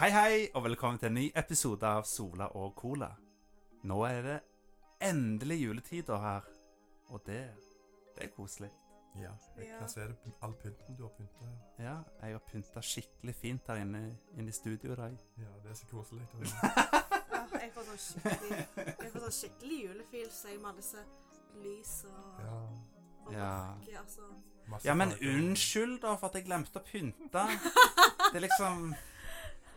Hei, hei, og velkommen til en ny episode av Sola og Cola. Nå er det endelig juletider her, og det, det er koselig. Ja, jeg Ja. kan se det på all pynten du har pynta. Ja, jeg har pynta skikkelig fint her inne, inne i studio i dag. Ja, det er så koselig. Ja, jeg får sånn skikkelig, jeg får sånn skikkelig julefølelse jeg, med alle disse lys og, Ja, og Ja. mørke. Altså. masse Ja, men farger. unnskyld da for at jeg glemte å pynte. Det er liksom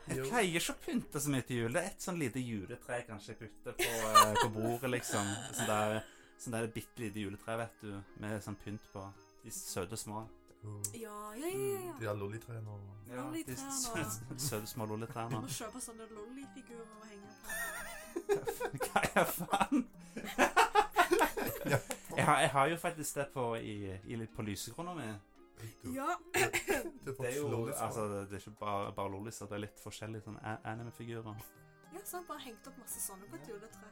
Jeg Jo. pleier ikke å pynte så mye til jul. Det er et sånn lite juletre jeg kanskje jeg putter på, eh, på bordet, liksom. Sånn der, sånn der bitte lite juletre, vet du, med sånn pynt på. De søte små. Og Ja, ja, ja. Mm, ja, De ja. har lollitrærne og Ja, de Lollitrærne. søte, søte små Vi lollitrærne. må kjøpe sånne lollyfigurer og henge på. Hva er faen? Jeg har, jeg har jo faktisk det på, i, i, litt på lysekrona mi. Ja. Du har Det er fått jo lollitrær. altså, det er ikke bare, bare lolliser, det er litt forskjellige sånn a- anime-figurer. ja, så har jeg bare hengt opp masse sånne på et juletre.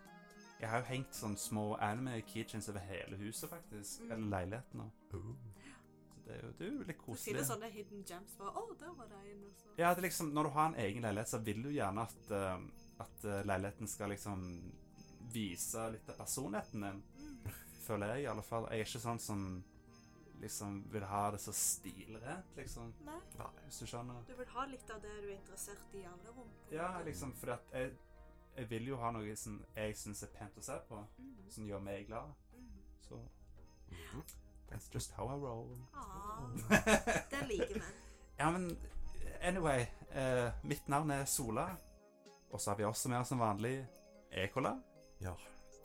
Jeg har jo hengt sånn små anime-keychains over hele huset, faktisk. Mm. Eller leiligheten. også. Oh. Så det er jo, det er jo litt Du sånn. finner koselig. sånne hidden gems. Bare, å, der var det en. og så- Ja, det er liksom, Når du har en egen leilighet, så vil du gjerne at, eh, at eh, leiligheten skal liksom vise litt av personligheten din, Mm. føler jeg i alle fall. Jeg er ikke sånn som liksom vil ha det så stilrent, liksom. Nei, Hvis du skjønner? du vil ha litt av det du er interessert i i alle rom. på en Ja, måte. liksom, fordi at jeg, jeg vil jo ha noe som jeg syns er pent å se på, Mm, som gjør meg glad. mm. Så That's just how I roll. Ah, det liker vi. Ja, men anyway. eh, mitt navn er Sola. Og så har vi også med oss som vanlig Ekola. Ja.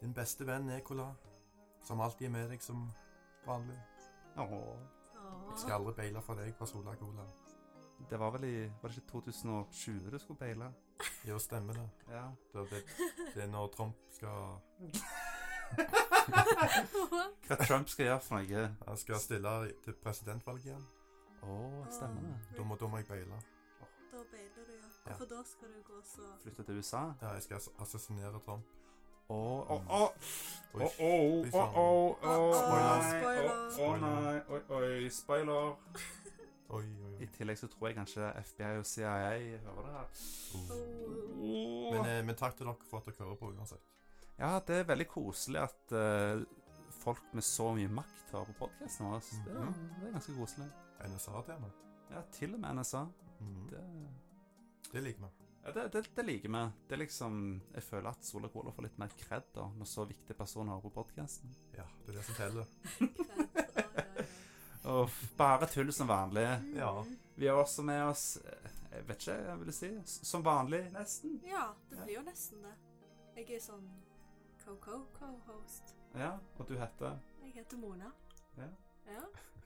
Din beste venn Nicola, som alltid er med deg som vanlig. Åh, Jeg Åh. skal aldri beile for deg fra Sola Cola. det var vel i Var det ikke 2020 du skulle peile? Jo, stemmer det. Ja. Det, det, det er når Trump skal Hva Trump skal gjøre for noe? Han skal stille til presidentvalget igjen. Å, stemmer det. Da må, da må jeg beile. Da beiler du, ja. Ja. For da skal du gå så Flytte til USA? Ja, jeg skal assassinere Trump. Å, å, å! Oi, Å, å, å, å, å, Spoiler. nei, å, Å nei, oi, oi, spoiler. Oi, oi, I oi. tillegg så tror jeg kanskje FBI og CIA hører det her. Åh. Men, eh, men takk til dere for at dere hører på uansett. Ja, det er veldig koselig at eh, folk med så mye makt hører på podkasten vår. Det, er- det er ganske koselig. NSA-tema. Ja, til og med NSA. Mhm. Det, Det liker vi. ja, det, det, det liker vi. Det er liksom Jeg føler at Sola Cola får litt mer kred da, når så viktige personer hører på podkasten. Ja, det er det som teller. Bare tull som vanlig. Ja. Vi har også med oss eh, Jeg vet ikke, jeg vil si s- Som vanlig, nesten. Ja, det blir jo nesten det. Jeg er sånn co-co-co-host. Ja, og du heter Jeg heter Mona. Ja. Ja.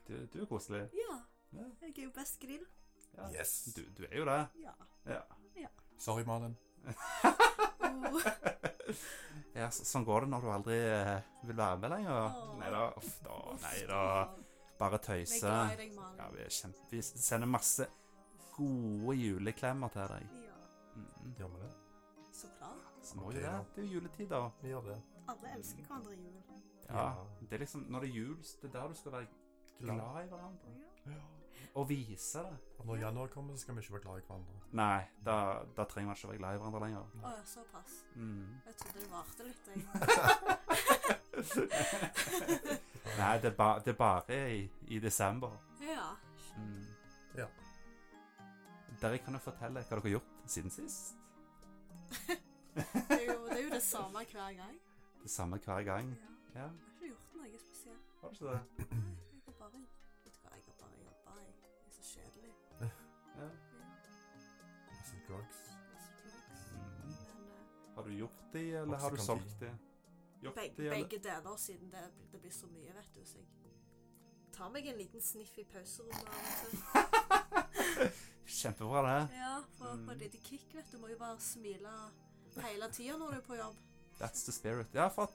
Du, du er koselig. ja. Ja. Jeg er jo best grill. Ja. Yes. Du, du er jo det. Ja. Ja. Sorry, Malin. Åh. Ja, så, sånn går det når du aldri eh, vil være med lenger. Åh. Nei da. Uff da. Nei da. Vi Bare er tøyse. glad i deg, Ja, mann. vi, er kjempe, vi sender masse gode juleklemmer til deg. Ja. Mm. Gjør vi det? Så klart. Så må jo Ok, det. da. Det er jo juletid, da. Vi gjør det. Alle elsker hverandre i jul. Ja. Ja. Det er liksom Når det er jul, så det er der du skal være glad i hverandre. Ja. Og vise det. Og når januar kommer, så skal vi ikke være glad i hverandre. Nei, da, da trenger man ikke å være glad i hverandre lenger. Å ja, såpass. Mm. Jeg trodde det varte litt, jeg. Nei, det er, ba, det er bare i, i desember. Ja. Mm. Ja. Dere kan jo fortelle hva dere har gjort siden sist. Det er jo det, er jo det samme hver gang. Det samme hver gang. Ja. Ja, Jeg har ikke gjort noe spesielt. har du ikke det? Nei, Jeg har bare, vet du hva, jeg har bare jobba. Jeg jeg er så kjedelig. Ja. Ja, Masse drugs. masse drugs. Mm. Men eh, Har du gjort de, eller Også har du kan solgt de? Gjort beg- de, eller? begge deler, siden det, det blir så mye, vet du. Så jeg tar meg en liten sniff i pauserommet. av og til. Kjempebra, det. Ja, for å få Mm. et lite kick, vet du. Må jo bare smile hele tida når du er på jobb. That's the spirit. Ja, for at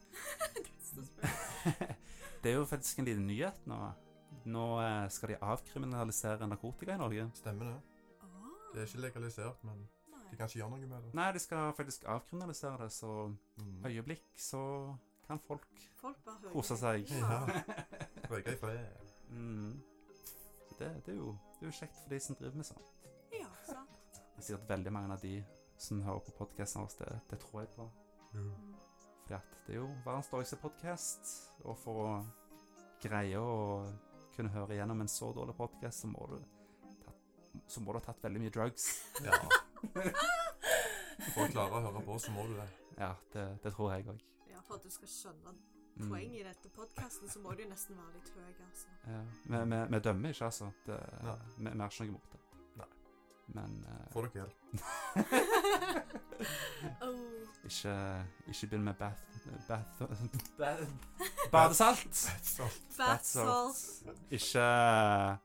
Så spør jeg, det er jo faktisk en liten nyhet nå. Nå eh, skal de avkriminalisere narkotika i Norge. Stemmer det. «Åh, Det er ikke legalisert, men de Ah, nei. kan ikke gjøre noe med det. Nei, de skal faktisk avkriminalisere det, så Mm. øyeblikk så kan folk Folk bare hører kose seg. Ja. Røyke i fred. Mm. Så det, det, er jo, det er jo kjekt for de som driver med sånn. Ja, sant. Det er sikkert veldig mange av de som hører på podkasten vår, det, det tror jeg på. Fordi at det er jo verdens dårligste podkast, og for å greie å kunne høre igjennom en så dårlig podkast, så, må du tatt- så må du ha tatt veldig mye drugs. Ja. For å klare å høre på, så må du det. Ja, det, det tror jeg Mm. òg. Ja, for at du skal skjønne Mm. poenget i dette podkasten, så må du jo nesten være litt høy, altså. Ja, vi, vi, vi dømmer ikke, altså. Det, Nei. vi, vi har ikke noe imot det. Nei. Men eh, Får dere hjelp? oh. ikke, ikke begynn med bath... bath badesalt! Bathsalt. Ikke eh,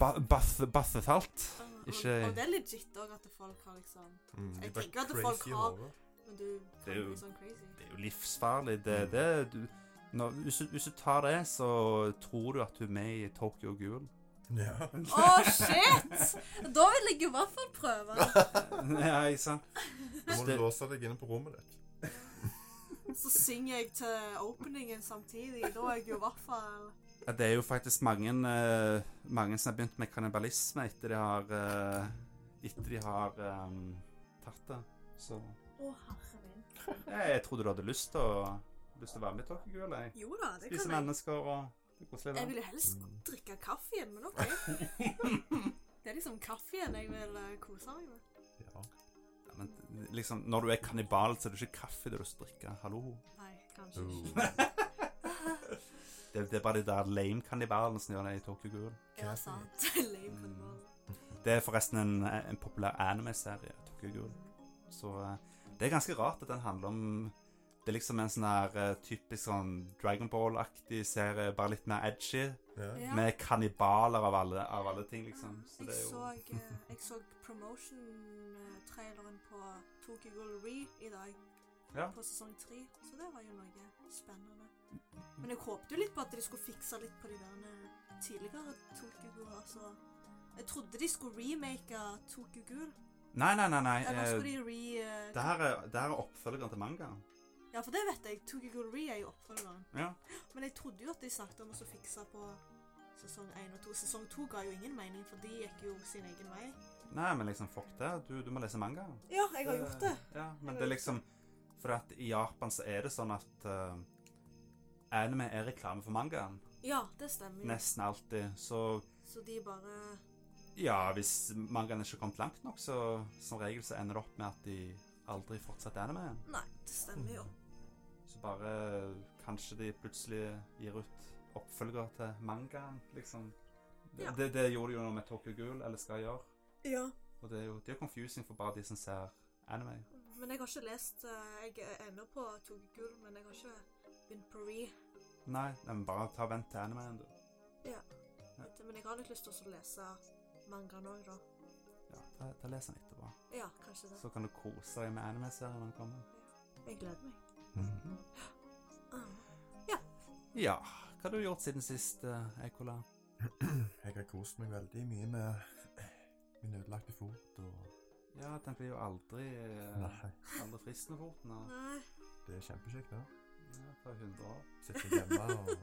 ba, bath, Bathefalt. Og, Ikke- og det er legit òg at folk har liksom Mm, de Jeg bare tenker at crazy folk i har- hodet. Men du Det kan er jo- bli sånn crazy. Det er jo livsfarlig. Det, det, du, når, hvis, du, hvis du tar det, så tror du at du er med i Tokyo Ghoul. Ja. Å, shit! Da vil jeg i hvert fall prøve. ja, ikke sant? Du må Det- låse deg inne på rommet ditt. Så synger jeg til openingen samtidig. Da er jeg jo i hvert fall Ja, Det er jo faktisk mange, eh, mange som har begynt med kannibalisme etter de har eh, Etter de har eh, tatt det. Så Å, herre min. jeg, jeg trodde du hadde lyst til å, lyst til å være med i Tokyo Ghoul. jeg. Jo da, det Spise kan jeg. mennesker og det er koselig. Jeg det. vil jo helst drikke kaffe igjen, men OK. Det er liksom kaffe igjen jeg vil eh, kose meg med. Ja. Ja, men liksom, når du er kannibal, så er det ikke kaffe det du skal drikke. Hallo. Nei, kanskje ikke. Oh. Det, det er bare de der lame kannibalene som gjør det i Tokyo Ghoul. Ja, Kaffe. sant. Lame på det Mm. Det er forresten en, en populær anime-serie, Tokyo Ghoul. Så eh, det er ganske rart at den handler om Det er liksom en sånn her eh, typisk sånn Dragon Ball-aktig serie, bare litt mer edgy. Ja. Ja. Ah, Med kannibaler av alle, av alle ting, liksom. Så Jeg det er så, jo eh, jeg så promotion-traileren på Tokyo Ghoul Re i dag. Ja. Mm. På sesong tre. Så det var jo noe spennende. Men jeg håpte jo litt på at de skulle fikse litt på de der eh, tidligere Tokyo Ghoul. Altså. Jeg trodde de skulle remake Tokyo Ghoul. Nei, nei, nei. nei. Eller eh, skulle de re... eh, Det her er, det her er oppfølgeren til mangaen. Ja, for det vet jeg. Tokyo Ghoul Re er jo oppfølgeren. Ja. Men jeg trodde jo at de snakket om å så fikse på sesong én og to. Sesong to ga jo ingen mening, for de gikk jo sin egen vei. Nei, men liksom, fuck det. Du, du må lese mangaen. Ja, jeg har gjort det. Ja, men det er liksom For at i Japan så er det sånn at eh, anime er reklame for mangaen. Ja, det stemmer. jo. Nesten alltid. Så Så de bare Ja, hvis mangaen ikke har kommet langt nok, så som regel så ender det opp med at de aldri fortsetter animeen. Nei, det stemmer jo. Så bare kanskje de plutselig gir ut oppfølger til mangaen, liksom. Det, Ja. det, det gjorde de jo nå med Tokyo Ghoul, eller skal gjøre. Ja. Og det er jo, det er jo confusing for bare de som ser anime. Men jeg har ikke lest eh, Jeg er ennå på Togegul, men jeg har ikke begynt på Re. Nei, nei, men bare ta og vent til animeen, du. Vet du, Men jeg har litt lyst til å lese mangaen òg, da. Ja, da, da leser den etterpå. Ja, kanskje det. Så kan du kose deg med anime-serien når den kommer. Jeg gleder meg. Mhm. Ah. Ja, hva har du gjort siden sist, eh, Ekola? Jeg har kost meg veldig mye med min ødelagte fot og Ja, den blir jo aldri, eh, Nei, aldri frist med foten. og- Nei. det er kjempekjekt, det. Ja, fra 100 år. Sitter hjemme og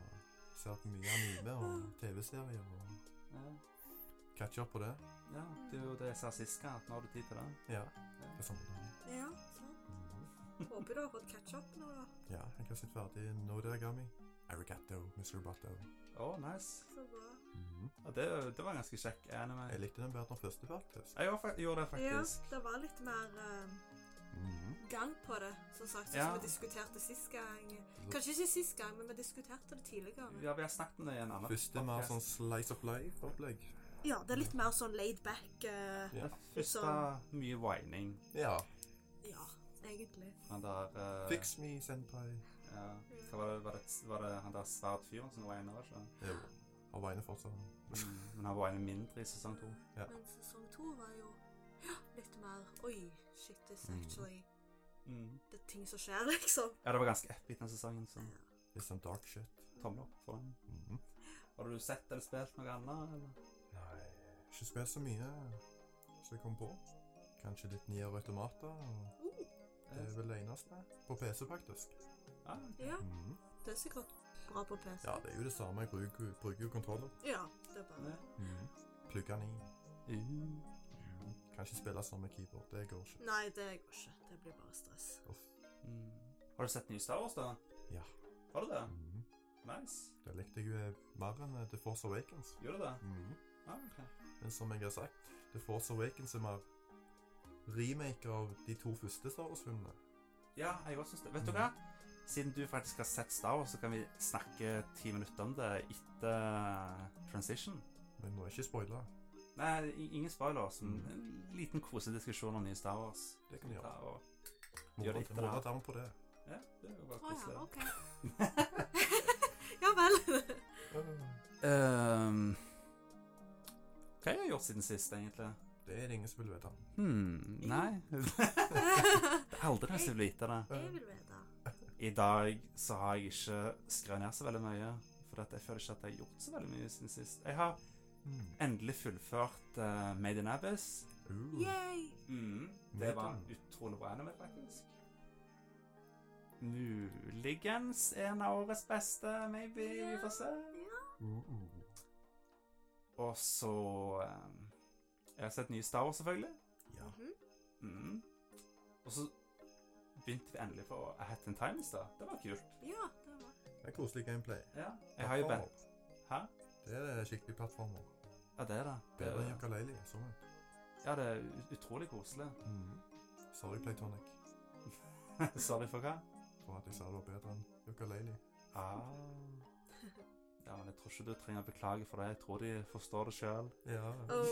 ser på mye anime og TV-serier og Ja. catcher opp på det. ja, det er jo det jeg sa sist gang, at nå har du tid til det. Ja. Det er sånn. det Ja, sant. er. Mhm. Håper du har fått catch up nå, da. Ja, jeg har sett ferdig Noderagami. Arigato, Mr. Roboto. Å, nice. Så bra. Mhm. Ja, det, det var en ganske kjekk anime. Jeg likte den bedre enn første, faktisk. Jeg gjorde, fa- gjorde det Ja, faktisk. det var litt mer eh, Mhm. gang på det, som sagt, sånn Ja. som vi diskuterte sist gang. Kanskje ikke sist gang, men vi diskuterte det tidligere. Ja, vi har snakket om det i en annen Første mer sånn podcast. slice of life-opplegg. Ja, det er litt mer sånn laid back. eh, Det Ja. første Sånn. mye whining. ja. ja, egentlig. Han der eh, Fix me, senpai. Ja, hva var det, var det, var det han der svært fyren som whiner, var det Jo. Og vegne fortsatt. ikke? Mm, Men han whiner mindre i sesong to. Ja. Men sesong to var jo ja, litt mer Oi, shit, this Mm. actually Mm. Det er ting som skjer, liksom. Ja, det var ganske epic den sesongen, så Litt sånn dark shit. tommel opp for den. Mhm. Har du sett eller spilt noe annet, eller? Nei, ikke spilt så mye som jeg kom på. Kanskje litt Nier Automata. og Uh, Det er vel det eneste. På PC, faktisk. Ja, ja, Mm. Mhm. det er sikkert bra på PC. Ja, det er jo det samme. Jeg bruker, bruker jo kontroller. Mm. Ja, det er bare ja. Plugger den i. Mm. Mhm. kan ikke spille sånn med keyboard. Det går ikke. Nei, det går ikke. Det blir bare stress. Uff. Mm. Har du sett nye Star Wars, da? Ja. Har du det? Mhm. Nice. Det likte jeg eh, mer enn eh, The Force Awakens. Gjør du det? Mhm. Ja, ok. Men som jeg har sagt, The Force Awakens er mer remake av de to første Star Wars-filmene. Ja, jeg også synes det. Vet du Mm. hva? Siden du faktisk har sett Star Wars, så kan vi snakke ti minutter om det etter eh, transition. Men nå er ikke spoila. Nei, i- ingen spoilers. men Mm. En liten kosediskusjon om nye Star Wars. Det kan vi gjøre. Ta og- Må Gjør det ta- etter må det. ta tarm på det. Ja, det er jo bare Å ja, koselig. OK. ja vel. Øh, Ehm, hva har jeg gjort siden sist, egentlig? Det er det ingen som vil vite. Hmm, nei. det er aldri noen som vil vite det. jeg vil vite. I dag så har jeg ikke skrevet ned så veldig mye. For at jeg føler ikke at jeg har gjort så veldig mye siden sist. Jeg har Mm. endelig fullført eh, Made in Abyss. Uh, Yay. Mm. Det var Nathan. utrolig bra anime, faktisk. Muligens en av årets beste, maybe. Vi får se. Ja. uh, uh. Og så eh, Jeg har sett nye Star Wars, selvfølgelig. Ja. Mhm. Mm. Og så begynte vi endelig på A Hat in Time i stad. Det var kult. ja, det var Det er koselig gameplay. Ja. Jeg har jo Plattformer. vent... Hæ? Det er skikkelig plattformer. Ja, det er det. det Bedre enn er, Yooka-Laylee. Sånn. ja, det er ut- utrolig koselig. Mm. Sorry, Playtonic, Sorry for hva? for at jeg sa det var bedre enn Yooka-Laylee. Ah. Ja, men jeg tror ikke du trenger å beklage for det. Jeg tror de forstår det sjøl. Ja. Oh. Åh.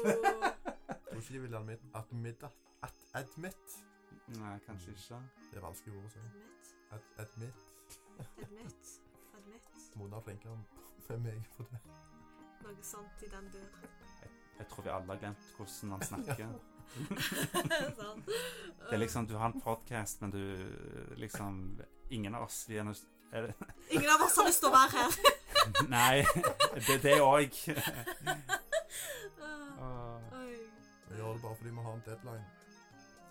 Tror ikke de vil admit, admit, at, admit. Nei, kanskje ikke. Det er vanskelig ord å si. Admit. Ad, admit. Admit. Admit. Mona er flinkere enn meg på det. Noe sånt i den dør. Jeg tror vi alle har glemt hvordan han snakker. sånn. Det er liksom, Du har en podkast, men du liksom Ingen av oss vi er nøst... Er det? Ingen av oss har lyst til å være her. Nei, det er det òg. Åh, Oi. Vi gjør det bare fordi vi har en deadline.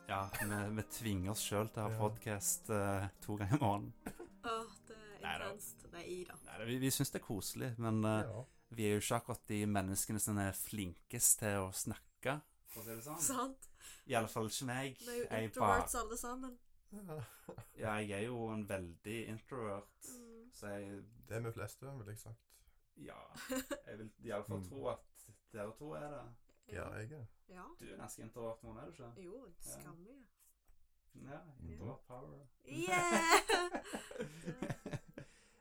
Ja, vi, vi tvinger oss sjøl til å ha Ja. podkast eh, to ganger i måneden. Åh, det er Nei da. intenst. Nei da. Nei, Vi, vi syns det er koselig, men eh, Ja. vi er jo ikke akkurat de menneskene som er flinkest til å snakke. For å si det sånn. Sant? I alle fall ikke meg. Det er jo Jeg, bare, introverts alle sammen. ja, jeg er jo en veldig introvert, Mm. så jeg Det er vi fleste, vil jeg sagt. Ja. Jeg vil i alle fall Mm. tro at dere to er det. Ja, jeg er. Ja. Du er ganske introvert nå, er du ikke? Jo, skam mye. Ja. Mm. Introvert power. Yeah!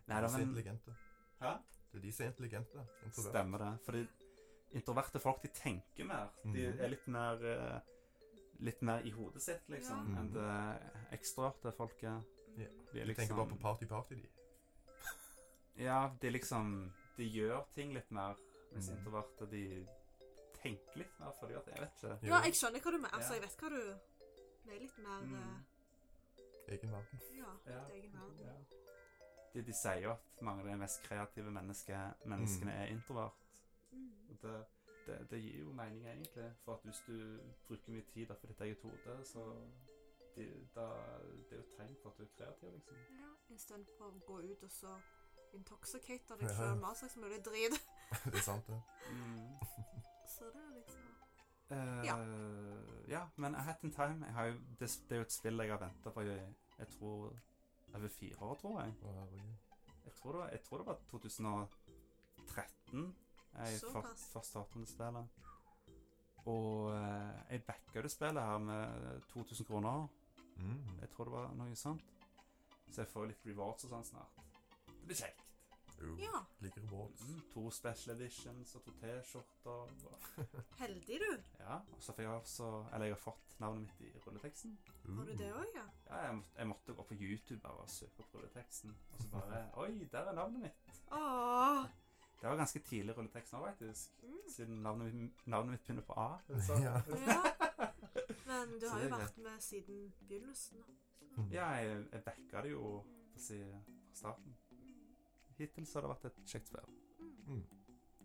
Nei de da, som er men intelligente. Hæ? Det er de som er intelligente. liksom. Introvert. Stemmer det. Fordi introverte folk, de tenker mer. De Mhm. er litt mer eh, Litt mer i hodet sitt, liksom, Ja. enn det ekstroverte folket. Ja. De er Jeg tenker bare på liksom party-party, de. Ja, de liksom De gjør ting litt mer, mens Mhm. introverte, de tenker litt mer fordi at Jeg vet ikke. Ja, jeg skjønner hva du mener. Altså, Ja. jeg vet hva du Det er litt mer Mm. Egen verden. eh, Ja, Ja. ditt egen verden. Ja. De, de sier jo at mange av de mest kreative menneske, menneskene er introvert. Mm. Og det, det, det gir jo mening, egentlig. For at hvis du bruker mye tid på ditt eget hode, så de, da, Det er jo et tegn på at du er kreativ, liksom. Ja, Istedenfor å gå ut og så intoxicate Ja. deg sjøl med all slags mulig drit. det er sant, det. Mm. Så det er liksom Eh, ja. Ja. Eh, men A Hat in Time jeg har jo, det, det er jo et spill jeg har venta på i jeg tror over fire år, tror jeg. Å, herregud. Jeg tror det var, jeg tror det var eh, 2013 jeg Såpass. først, først startet med det spillet. Og eh, jeg backa det spillet her med 2000 kroner. Mm. Jeg tror det var noe sånt. Så jeg får litt rewards og sånn snart. Det blir kjekt. Jo, Ja, Liker rewards. Mm, to special editions og to T-skjorter. og- heldig du. Ja, og så fikk jeg også Eller jeg har fått navnet mitt i rulleteksten. Har du det òg, ja? Ja, jeg, måtte, jeg måtte gå på YouTube bare og søke opp rulleteksten. Og så bare Oi, der er navnet mitt! Åh. Det var ganske tidlig rulletekst nå, faktisk. Mm. Siden navnet, mitt- navnet mitt begynner på A. Så. Ja. Ja. Men du Så har det jo er vært med siden begynnelsen. da. Mm. Ja, jeg, jeg backa det jo for Mm. å si, fra starten. Hittil så har det vært et kjekt spill. Mm.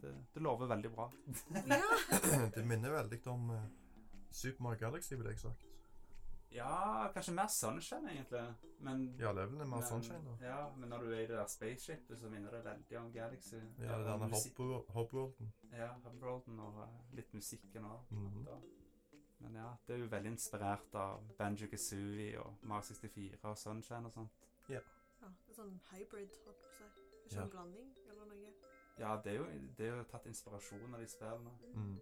Det, det lover veldig bra. Ja. Det minner veldig om eh, Super Mario Galaxy, vil jeg sagt. Ja, kanskje mer Sunshine, egentlig. Men Ja, levelene med men- Sunshine, da. Ja, men når du er i det der spaceshipet, så minner det veldig om Galaxy. Ja, Eller denne musikk- Hobworlden. Ja, Hobworlden og eh, litt musikken òg. Mhm. Da. Men ja, det er jo veldig inspirert av Banjo Kazooie og Mar 64 og Sunshine og sånn. sånt. Ja, det er sånn hybrid, holdt på å si. Ikke Ja. en blanding eller noe. Ja, det er jo, det er jo tatt inspirasjon av de spillene. Mm.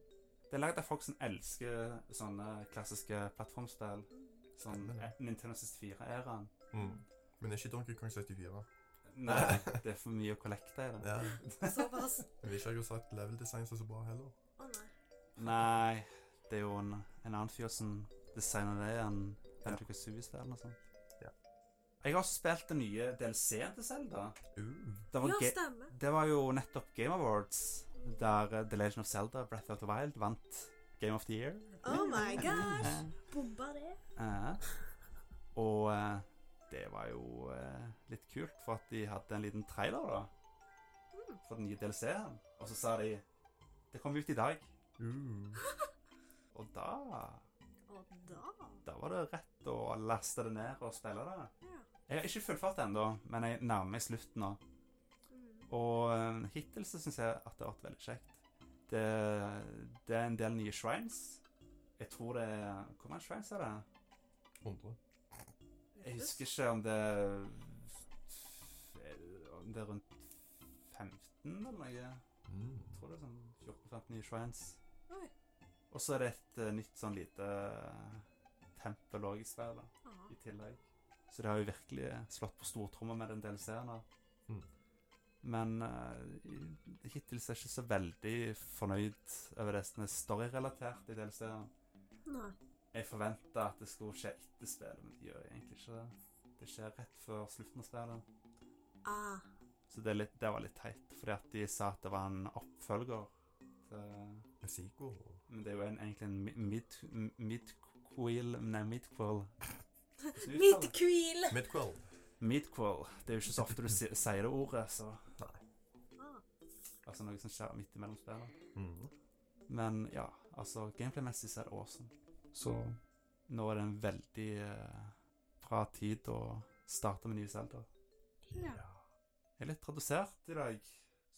Det er laget av folk som elsker sånne klassiske plattformspill. Sånn Stemmer det. Nintendo 64-æraen. Mm. Men er ikke Donkey Kong 74? Nei, det er for mye å kollekte i det. Ja. Såpass. Jeg vil ikke ha sagt level design som er så bra heller. Å nei. Nei, det er jo en, en annen fyr som designer det enn Banjo Kazooie-spillene og sånt. Ja. Jeg har også spilt den nye DLC-en til Zelda. Uh. Det var, Ja, ge stemmer. det var jo nettopp Game Awards, der eh, The Legend of Zelda, Breath of the Wild, vant Game of the Year. Oh my gosh. Bomba det. Eh, og eh, det var jo eh, litt kult, for at de hadde en liten trailer da, Mm. for den nye DLC-en. Og så sa de Det kom ut i dag. Uh. Og da Og da Da var det rett å laste det ned og spille det. Ja. Jeg har ikke fullført det ennå, men jeg nærmer meg slutten nå. Mm. Og eh, hittil så syns jeg at det har vært veldig kjekt. Det, det er en del nye shrines. Jeg tror det er Hvor mange shrines er det? 100. Jeg husker ikke om det er- Om det er rundt 15 eller noe. Jeg Mm. tror det er sånn 14-15 nye shrines. Oi. Og så er det et eh, nytt sånn lite eh, tempel òg i spillet Ah. i tillegg. Så det har jo virkelig eh, slått på stortromma med den DLC-en. her. Mm. Men eh, hittil så er jeg ikke så veldig fornøyd over det som er storyrelatert i DLC-en. Nei. Jeg forventa at det skulle skje etter spillet, men det gjør egentlig ikke det. Det skjer rett før slutten av spillet. Ah. Så det, er litt, det var litt teit, fordi at de sa at det var en oppfølger. Så, Med sequel. men det er jo en, egentlig en mi- mid, m- midquel Nei, midquel. Hvordan uttaler det? Midqueel. Midquel. Midquel. Det er jo ikke så ofte du si, sier det ordet, så Ah. Altså noe som skjer midt imellom spillene. Mm. Men ja, altså gameplay-messig så er det awesome. Så nå er det en veldig eh, bra tid å starte med nye Zelda. Ja. Jeg er litt redusert i dag.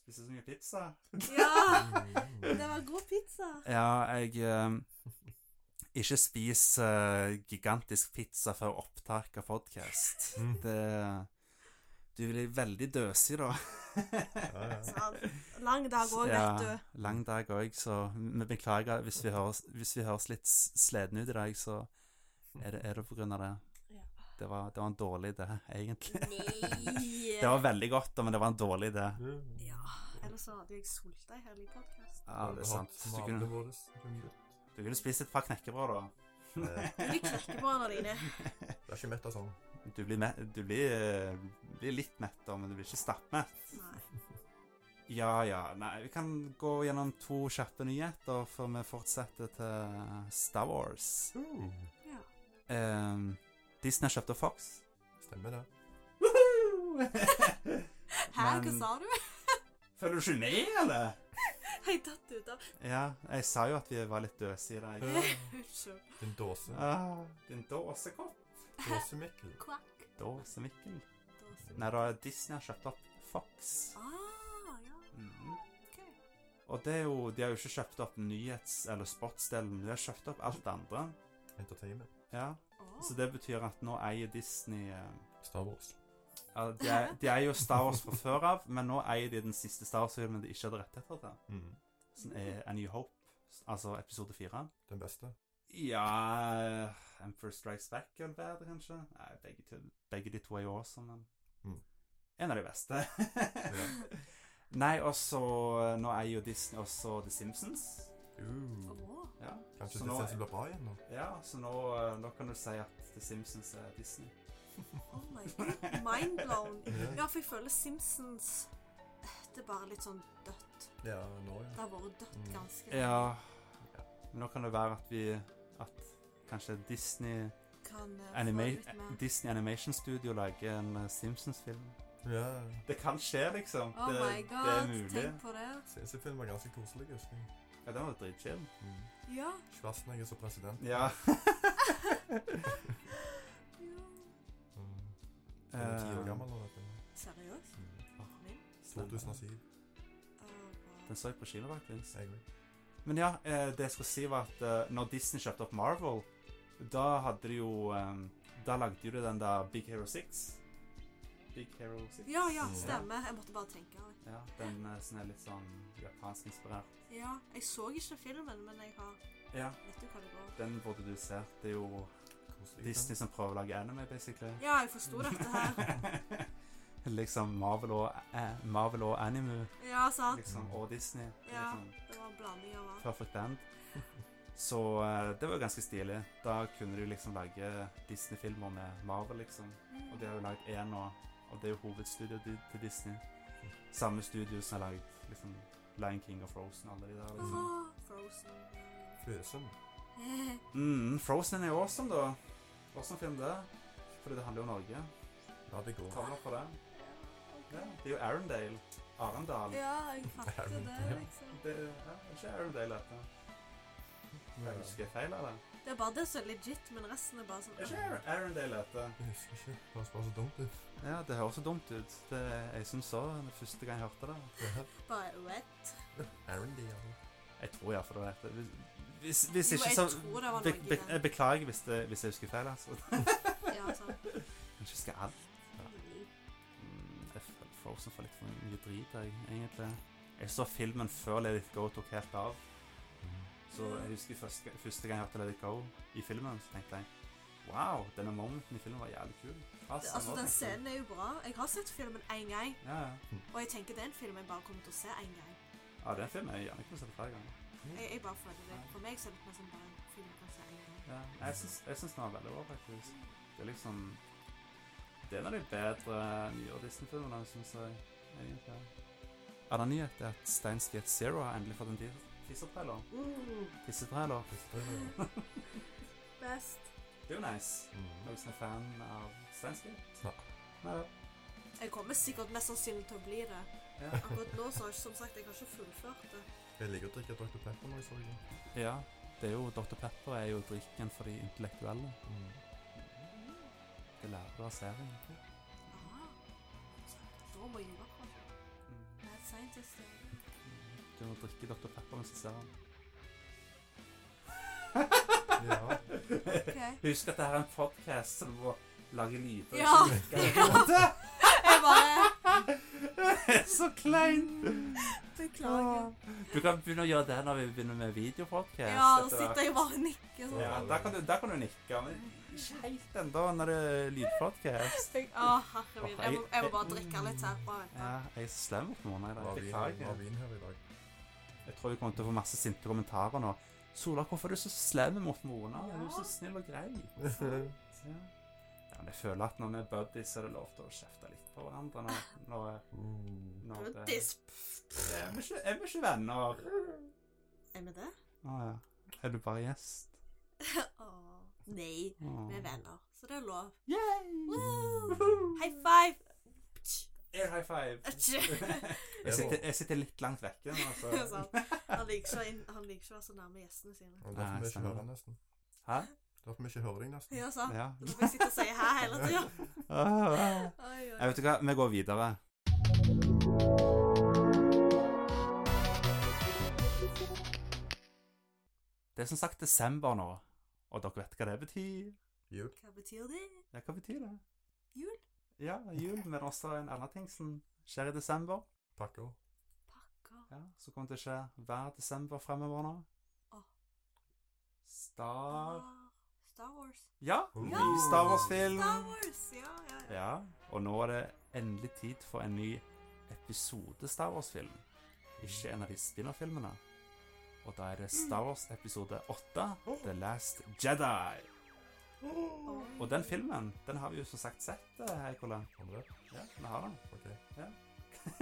Spiser så mye pizza. ja. Mm. Det var god pizza. Ja, jeg eh, Ikke spis eh, gigantisk pizza før opptak av podkast. Mm. Det Du blir veldig døsig da. Ja, ja. Sant. Lang dag òg, Ja, vet du. Lang dag òg, så vi beklager hvis vi høres, hvis vi høres litt s- sleden ut i dag, så er det, er det på grunn av det. Ja. Det var, det var en dårlig idé, egentlig. Nei. Det var veldig godt, da, men det var en dårlig idé. Ja. Ellers så hadde jeg sulta i hele podkasten. Ja, det er sant. Du kunne, du kunne spist et par knekkebrød, da. Det Du knekker barna dine. Eh, er ikke mett av sånn. Du blir, me- du blir, eh, blir litt mett, da, men du blir ikke stappmett. Nei. Ja, ja. Nei, vi kan gå gjennom to kjappe nyheter før vi fortsetter til Star Wars. Ja. Um, Disney kjøpte Fox. Stemmer det. Hæ, hva Men- sa du? Følger du ikke med, eller? Jeg datt ut av Ja, jeg sa jo at vi var litt døse i dag. Unnskyld. Din dåse. Ah, din dåsekopp. Dåsemikkel. Kvakk. Dåsemikkel. Dåse. Nei, da Disney har kjøpt opp Fox. Ah, ja. Mhm. OK. Og det er jo, de har jo ikke kjøpt opp nyhets- eller sportsdelen, de har kjøpt opp alt det andre. Entertainment. Ja, Å. Så det betyr at nå eier Disney eh, Star Wars. ja, de, er, de eier jo Star Wars fra før av, men nå eier de den siste Star Wars-filmen de ikke hadde rettigheter til. Mm. Som er A New Hope, altså episode fire. Den beste. Ja Emperor Strikes Back eller bedre, kanskje? Nei, begge, to, begge de to er jo awesome, men Mm. En av de beste. Nei, og så eh, Nå eier jo Disney også The Simpsons. Uh. Å. Ja. Kanskje Så det nå- ses blir bra igjen nå? ja, så nå, eh, nå kan du si at The Simpsons er Disney. Oh my god. Mindblown. Ja, for jeg føler Simpsons Det er bare litt sånn dødt. Ja, nå, Det ja. har vært dødt Mm. ganske Ja Men nå kan det være at vi At kanskje Disney Kan eh, få Anima litt mer- Disney Animation Studio lager en eh, Simpsons-film. Ja. Det kan skje, liksom. Oh det, my det er god, mulig. tenk på det. Sinnssykt-film var ganske koselig, husker jeg. Ja, den var dritchill. Mm. Ja. Schwarzenegger som president. Ja. ja. Mm. Den er ti år Eh, gammel nå, vet du. Seriøst? Ah, Mm. Min? 2007. Å, wow. Den så jeg på kino, faktisk. Jeg òg. Men ja, eh, det jeg skulle si var at eh, når Disney kjøpte opp Marvel, da hadde de jo eh, Da lagde de jo den der Big Hero 6. Big Hero 6. Ja, ja, stemmer. Jeg måtte bare tenke. Ja, den eh, som er litt sånn japansk inspirert. Ja, jeg så ikke filmen, men jeg har Ja, Vet du hva det går den burde du se. Det er jo Koselig, Disney som prøver å lage anime, basically. Ja, jeg forsto dette her. liksom Marvel og, eh, Marvel og anime Ja, sant. liksom, og Disney. Ja. Liksom, Det var en blanding av alt. perfect band. Så eh, det var jo ganske stilig. Da kunne du liksom lage Disney-filmer med Marvel, liksom. Og de har jo lagd én nå, og det er jo hovedstudioet di- til Disney. Samme studio som har lagd liksom, Lion King og Frozen og alle de der. liksom. Åh, Frozen. Føsen. Mm, Frozen er jo awesome, da. Hvordan film det? Fordi det handler jo om Norge. La det gå. Tommel opp for det. Ja, det er jo Arendale. Arendal. Ja, jeg fatter det, liksom. Det er ja, ikke Arendale, dette. Jeg husker jeg feil, eller? Det er bare det som er legit, men resten er bare sånn Er ikke Ar- Arendale, dette? Jeg husker ikke. Det høres bare så dumt ut. Ja, det høres så dumt ut. Det, jeg syns så den første gang jeg hørte det. Bare wet. Arendale. Jeg tror iallfall det var dette. Hvis, hvis, hvis Jo, ikke, jeg så tror det var be, noe i be, den. Jeg beklager hvis, det, hvis jeg husker feil. altså. Ja, altså. sant. Jeg husker alt. Mm, Jeg føler Frozen får litt for mye drit, jeg, egentlig. Jeg så filmen før Let It Go tok helt av. Så jeg husker første, ga- første gang jeg hørte Let It Go i filmen, så tenkte jeg Wow, denne momenten i filmen var jævlig kul. Fasen, Altså, nå den tenkte jeg. scenen er jo bra. Jeg har sett filmen én gang, Ja, ja. og jeg tenker det er en film jeg bare kommer til å se én gang. ja den filmen jeg gjerne kunne sett flere ganger. Jeg, jeg bare føler det. For meg så er det nesten bare en film jeg kan se en gang. Ja, jeg syns jeg syns den var veldig bra, faktisk. Det er liksom Det er en av de bedre nyere Disney-filmene, syns jeg. egentlig. Er det en nyhet det er at Steins Gate Zero har endelig fått en tis- teaser-trailer? Tissetrailer. Best. Det er jo nice. Mm. Noen som er fan av Steins Gate? Nei. Nei. Jeg kommer sikkert mest sannsynlig til å bli det. Ja. Akkurat nå så har jeg som sagt jeg har ikke fullført det. Jeg liker å drikke Dr. Pepper når jeg så det. ja. Det er jo Dr. Pepper er jo drikken for de intellektuelle. Mm. Det lærer du av serien. Ah, da må jeg gjøre det. Mad Scientist. ja. Du må drikke Dr. Pepper mens du ser den. Ja. Ok. Husk at dette er en podcast, så du må lage lyder. Ja, som virker. Det Jeg bare er så kleint! beklager. Du kan begynne å gjøre det når vi begynner med videopodcast. Ja, etter da hvert. sitter jeg bare og nikker sånn. Ja, der kan, du, der kan du nikke, men ikke helt ennå når det er lydpodcast. Jeg- Å, herre min. Jeg må, jeg må bare drikke litt her. Bare vent. Ja, jeg er så slem mot Mona i Det dag. var vin, det var Beklager. vin her i dag. Jeg tror vi kommer til å få masse sinte kommentarer nå. Sola, hvorfor er du så slem mot Mona? Hun er jo så snill og grei. Så, Ja, Ja, men jeg føler at når vi er buddies, så er det lov til å kjefte litt på hverandre. Når, når, Mm. når det- Buddies. Er vi ikke, er vi ikke venner? Er vi det? Å ja. Er du bare gjest? Åh. Nei, Å. vi er venner, så det er lov. Yay! Woo! High five! Air high five. Jeg sitter, jeg sitter litt langt vekke. nå, altså. Det er så- sant. Han liker ikke å inn- han liker ikke å være så nærme gjestene sine. Og derfor Nei, vi ikke stemmer hører det. deg nesten. Hæ? Derfor vi ikke hører deg nesten. Ja, sant? Ja. Da får jeg sitte og si hæ hele tida. Ah, ah. Oi, Jeg oi. vet ikke hva, vi går videre. Det er som sagt desember nå, og dere vet hva det betyr. Jo. Hva betyr det? Ja, hva betyr det? Jul? Ja, jul, men også en annen ting som skjer i desember. Pakker. Pakker. Ja, Som kommer til å skje hver desember fremover nå. Åh. Star Star Wars. Ja, Ja! ny Star Wars-film. Star Wars, ja, ja, ja. Ja, og nå er det endelig tid for en ny episode Star Wars-film. Ikke en av de spinner-filmene. Og da er det Star Wars episode 8, The Last Jedi. Oi. Og den filmen, den har vi jo som sagt sett, eh, Heikola. Har du det? Ja, vi har den. Ok.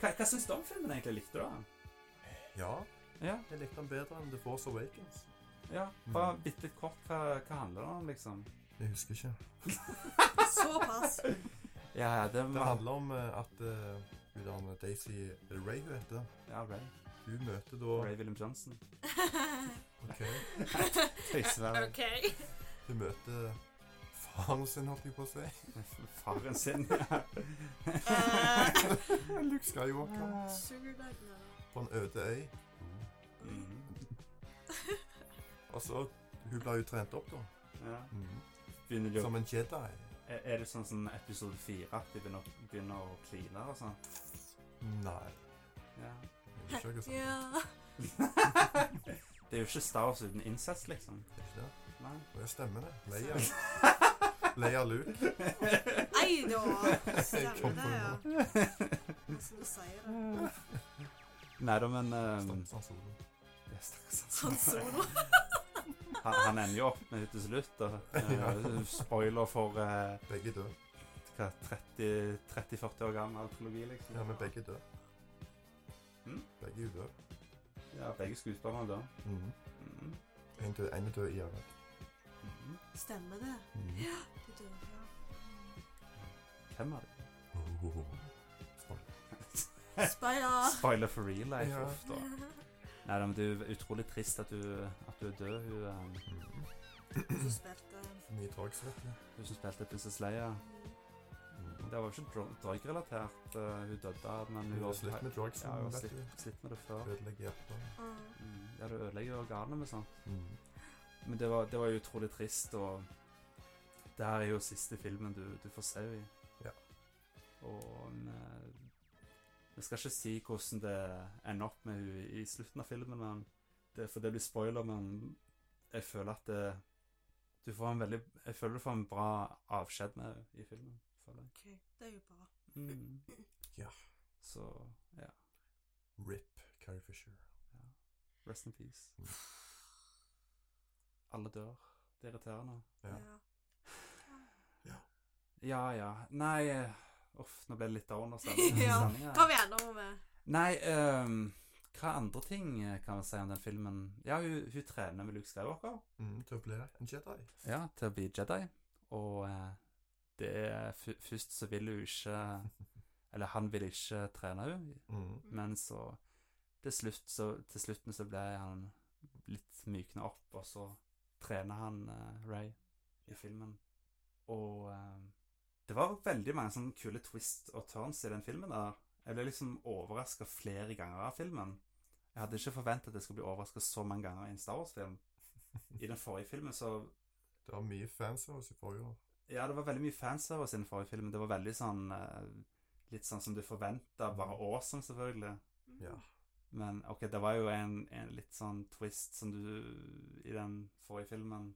Hva, hva syns du om filmen egentlig? Likte du den? Ja, Ja, jeg likte den bedre enn The Force Awakens. ja. Bare bitte litt kort, hva, hva handler det om, liksom? Jeg husker ikke. Såpass. Ja, ja, det Det var handler om eh, at eh, hun der Daisy Ray, hun heter, Ja, Ray. hun møter da Ray William Johnson. Ok. Tøyseverden. Hun møter faren sin, holdt jeg på å si. Faren sin, Mm. ja. Eh, Luke Skywalker Sugar Daddy. på en øde øy. Mm. Og så Hun ble jo trent opp, da. Ja. Mhm. Begynner de å Som en Jedi. Er er det sånn som episode 4, at de begynner, begynner å kline og sånn? Nei. Ja. Det er ikke noe sånt. Ja. Det er jo ikke Star Wars uten incest, liksom. Det er ikke det. Nei. Og jeg stemmer det. Leia. Leia Luke. Nei da! Stemmer Kom på det, det ja. nå. Som du sier det. Nei da, men ehm, Stakkars han Solo. ja, stakkars han. Sånn solo. han, han ender jo opp med det til slutt. Da. Eh, spoiler for eh, Begge døde. hva, 30 30-40 år gammel alkologi, liksom. Ja, men begge døde. Mm. Begge er døde. Ja, begge skuespillerne da. Mhm. Mhm. En død, en er død i Irak. Mhm. Stemmer det. Mhm. Du dør, ja. Hvem er det? Ohohoho. Speia. Spoiler for real life. Ja. Uff, da. Nei, da, men det er jo utrolig trist at du, at du er død. Hun, ehm, Mhm. Hun spilte Mye tragisk. hun som spilte Prinsesse Leia. Mm. Det var jo ikke dro- drogrelatert. eh, Hun dødde av men Hun har slitt med drugs. Ja, hun har vet slitt, du. slitt med det før. Ødelegger hjertet. Mm. Mm. Ja, du ødelegger jo organet med sånt. Mhm. Men det var, det var jo utrolig trist, og det her er jo siste filmen du, du får se henne i. Ja. Og eh, Jeg skal ikke si hvordan det ender opp med henne i slutten av filmen, men det, for det blir spoiler, men jeg føler at det, du får en veldig Jeg føler du får en bra avskjed med henne i filmen. Føler jeg. OK, det er jo bra. Mm. Ja. Så ja. Rip Carrie Fisher. Rest in peace. Alle dør. Det er irriterende. Ja. Ja. Ja, ja. Nei eh, Uff, nå ble det litt down altså. av stemningen. Ja. Stemningen. Kom igjen, nå må vi Nei, ehm, hva andre ting eh, kan vi si om den filmen? Ja, hun, hun trener med Luke Skywalker. Mhm, Til å bli en Jedi. Ja, til å bli Jedi. Og eh, det er fu- først så vil hun ikke Eller han vil ikke trene henne, Mhm. men så til, slutt, så til slutten så ble han litt mykna opp, og så trener han eh, Ray i filmen. Og eh, det var veldig mange sånne kule twist og turns i den filmen der. Jeg ble liksom overraska flere ganger av filmen. Jeg hadde ikke forventa at jeg skulle bli overraska så mange ganger i en Star Wars-film. I den forrige filmen så Det var mye fans av oss i forrige år. Ja, det var veldig mye fanservice i den forrige filmen. Det var veldig sånn eh, Litt sånn som du forventa, bare awesome, selvfølgelig. Ja. Men ok, det var jo en, en litt sånn twist som du I den forrige filmen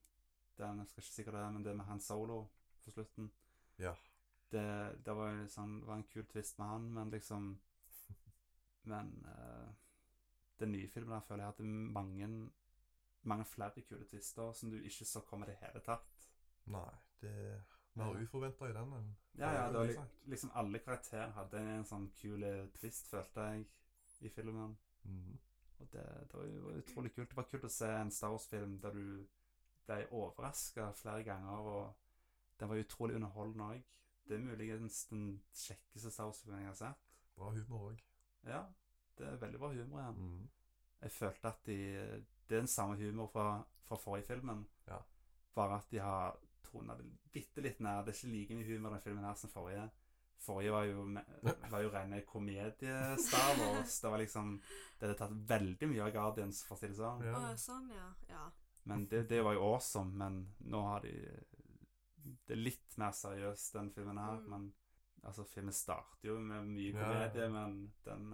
den, Jeg skal ikke si hva det er, men det med Han Solo på slutten. Ja. Det, det var jo sånn, det var en kul twist med han, men liksom Men eh, den nye filmen der føler jeg hadde mange mange flere kule twister som du ikke så komme i det hele tatt. Nei, det er mer Ja. uforventa i den enn Ja, ja, det var litt li liksom alle karakterer hadde en sånn kul twist, følte jeg, i filmen. Mm. Og det, det var jo utrolig kult. Det var kult å se en Star Wars-film der du ble overraska flere ganger, og den var utrolig underholdende òg. Det er muligens den kjekkeste Star Wars-filmen jeg har sett. Bra humor òg. Ja, det er veldig bra humor igjen. Mm. Jeg følte at de Det er den samme humor fra, fra forrige filmen, Ja. bare at de har tona det bitte litt ned. Det er ikke like mye humor i den filmen her som forrige. Forrige var jo, me- var jo rene komedie-Star Wars. Det var liksom Det hadde tatt veldig mye av Guardians, for å si det sånn. Ja. Å, sånn, ja. Ja. Men det, det var jo awesome, men nå har de Det er litt mer seriøst, den filmen her. Mm. Men altså, filmen starter jo med mye Ja, ja, ja. komedie, men den